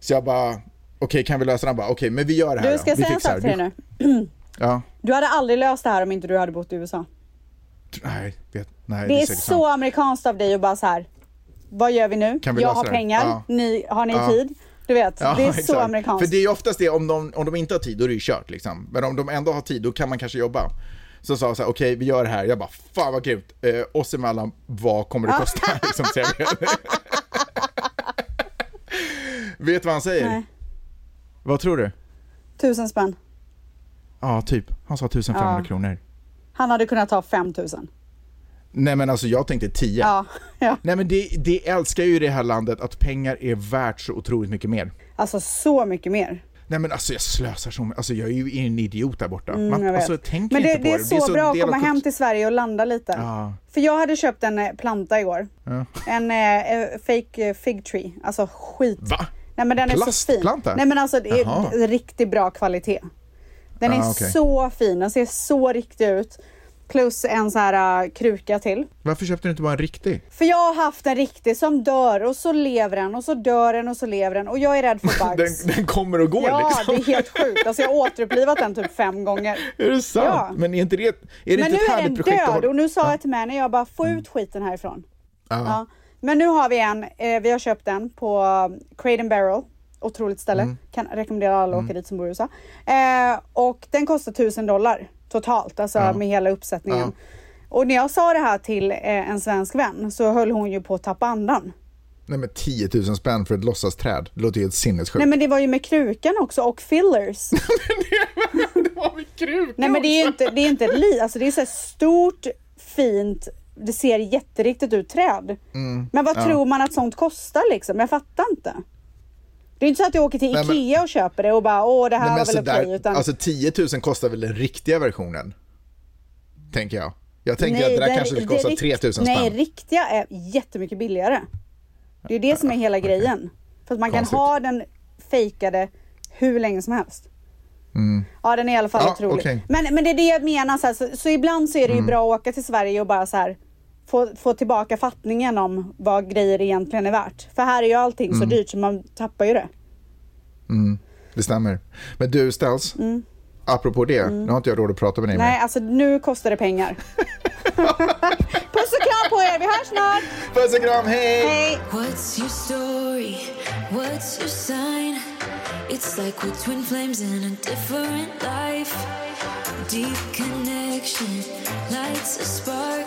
Speaker 2: Så jag bara, okej kan vi lösa den? Han bara, okej men vi gör det här
Speaker 1: Du, ska
Speaker 2: då.
Speaker 1: jag
Speaker 2: vi
Speaker 1: säga en
Speaker 2: fixar
Speaker 1: sak till dig
Speaker 2: det.
Speaker 1: nu?
Speaker 2: Ja,
Speaker 1: Du hade aldrig löst det här om inte du hade bott i USA.
Speaker 2: nej, vet, nej
Speaker 1: Det är
Speaker 2: säkert
Speaker 1: så
Speaker 2: sant.
Speaker 1: amerikanskt av dig att bara så här. Vad gör vi nu?
Speaker 2: Kan vi
Speaker 1: jag
Speaker 2: lösa
Speaker 1: har
Speaker 2: det?
Speaker 1: pengar.
Speaker 2: Ja.
Speaker 1: Ni, har ni
Speaker 2: Ja.
Speaker 1: tid? Du vet,
Speaker 2: Ja,
Speaker 1: det är så
Speaker 2: exakt.
Speaker 1: amerikanskt.
Speaker 2: För det är ju oftast det, om de, om de inte har tid då är det ju kört liksom. Men om de ändå har tid då kan man kanske jobba. som sa så här, okej vi gör det här. Jag bara, fan vad grymt. Eh, oss emellan, vad kommer det kosta? liksom, så jag vet. vet vad han säger?
Speaker 1: Nej.
Speaker 2: Vad tror du?
Speaker 1: Tusen spänn.
Speaker 2: Ja, typ. Han sa 1500
Speaker 1: Ja.
Speaker 2: kronor.
Speaker 1: Han hade kunnat ta 5000.
Speaker 2: Nej men alltså jag tänkte 10.
Speaker 1: Ja. ja.
Speaker 2: Nej men det, det älskar ju det här landet att pengar är värt så otroligt mycket mer.
Speaker 1: Alltså så mycket mer.
Speaker 2: Nej men alltså jag slösar så mycket, alltså jag är ju en idiot där borta.
Speaker 1: Mm,
Speaker 2: Man,
Speaker 1: jag vet.
Speaker 2: alltså, jag tänker
Speaker 1: Men det,
Speaker 2: inte på
Speaker 1: det är
Speaker 2: det.
Speaker 1: så bra att
Speaker 2: del av
Speaker 1: komma hem
Speaker 2: kultur-
Speaker 1: till Sverige och landa lite.
Speaker 2: Ja.
Speaker 1: För jag hade köpt en eh, planta igår. En eh, eh, fake eh, fig tree. Alltså skit.
Speaker 2: Va?
Speaker 1: Nej men den är så fin.
Speaker 2: Plastplanta?
Speaker 1: Nej men alltså det är
Speaker 2: Jaha.
Speaker 1: riktigt bra kvalitet. Den
Speaker 2: Ah,
Speaker 1: är
Speaker 2: okej.
Speaker 1: så fin, den ser så riktig ut. Plus en så här eh, kruka till.
Speaker 2: Varför köpte du inte bara en riktig?
Speaker 1: För jag har haft en riktig som dör och så lever den och så dör den och så lever den och jag är rädd för
Speaker 2: Den,
Speaker 1: bugs.
Speaker 2: den kommer och går
Speaker 1: ja,
Speaker 2: liksom.
Speaker 1: det är helt sjukt. Alltså jag har återupplivat den typ fem gånger.
Speaker 2: Är det sant?
Speaker 1: Ja.
Speaker 2: Men är inte det, är det
Speaker 1: Men
Speaker 2: inte
Speaker 1: nu
Speaker 2: ett
Speaker 1: är
Speaker 2: härligt
Speaker 1: den
Speaker 2: projekt att
Speaker 1: död
Speaker 2: hålla- Mm.
Speaker 1: och nu sa jag till Mani, jag bara få ut skiten härifrån.
Speaker 2: Ja.
Speaker 1: Ja. Men nu har vi en, eh, vi har köpt den på eh, Crate and Barrel. Otroligt ställe.
Speaker 2: Mm.
Speaker 1: Kan rekommendera alla att åka dit som bor i USA. Eh, och den kostar 1000 dollar totalt, alltså med hela uppsättningen. Och när jag sa det här till eh, en svensk vän så höll hon ju på att tappa andan.
Speaker 2: Nej men 10 000 spänn för ett låtsasträd, det låter ju helt sinnessjukt.
Speaker 1: Nej men det var ju med krukan också och fillers. Nej men det är ju inte, det är inte ett li, alltså det är så här stort, fint, det ser jätteriktigt ut träd.
Speaker 2: Mm.
Speaker 1: Men vad tror man att sånt kostar liksom? Jag fattar inte. Det är inte så att jag åker till
Speaker 2: Nej, men-
Speaker 1: Ikea och köper det och bara åh det här
Speaker 2: Nej,
Speaker 1: var
Speaker 2: men
Speaker 1: väl okej.
Speaker 2: sådär,
Speaker 1: utan
Speaker 2: Alltså 10 000 kostar väl den riktiga versionen? Tänker jag. Jag tänker att det där
Speaker 1: den-
Speaker 2: kanske skulle
Speaker 1: det
Speaker 2: kosta
Speaker 1: rikt-
Speaker 2: 3 000 spänn.
Speaker 1: Nej, riktiga är jättemycket billigare. Det är det som är hela grejen. För att man
Speaker 2: Konstigt.
Speaker 1: kan ha den fejkade hur länge som helst. Ja, den är i alla fall
Speaker 2: Mm. Ja,
Speaker 1: otrolig.
Speaker 2: okej. Mm.
Speaker 1: Men, men det är det jag menar, så, här, så, så ibland så är det ju bra att åka till Sverige och bara så här få, få tillbaka fattningen om vad grejer egentligen är värt. För här är ju allting
Speaker 2: Mm.
Speaker 1: så dyrt så man tappar ju det.
Speaker 2: Det stämmer. Men du Stels, apropå det, nu har inte jag råd att prata med dig
Speaker 1: Mm. Nej, alltså nu kostar det pengar. Puss och kram på er, vi hörs snart!
Speaker 2: mer. Puss och kram, hej!
Speaker 1: Hej!
Speaker 3: What's your story? What's your sign? It's like we're twin flames in a different life. Deep connection lights a spark.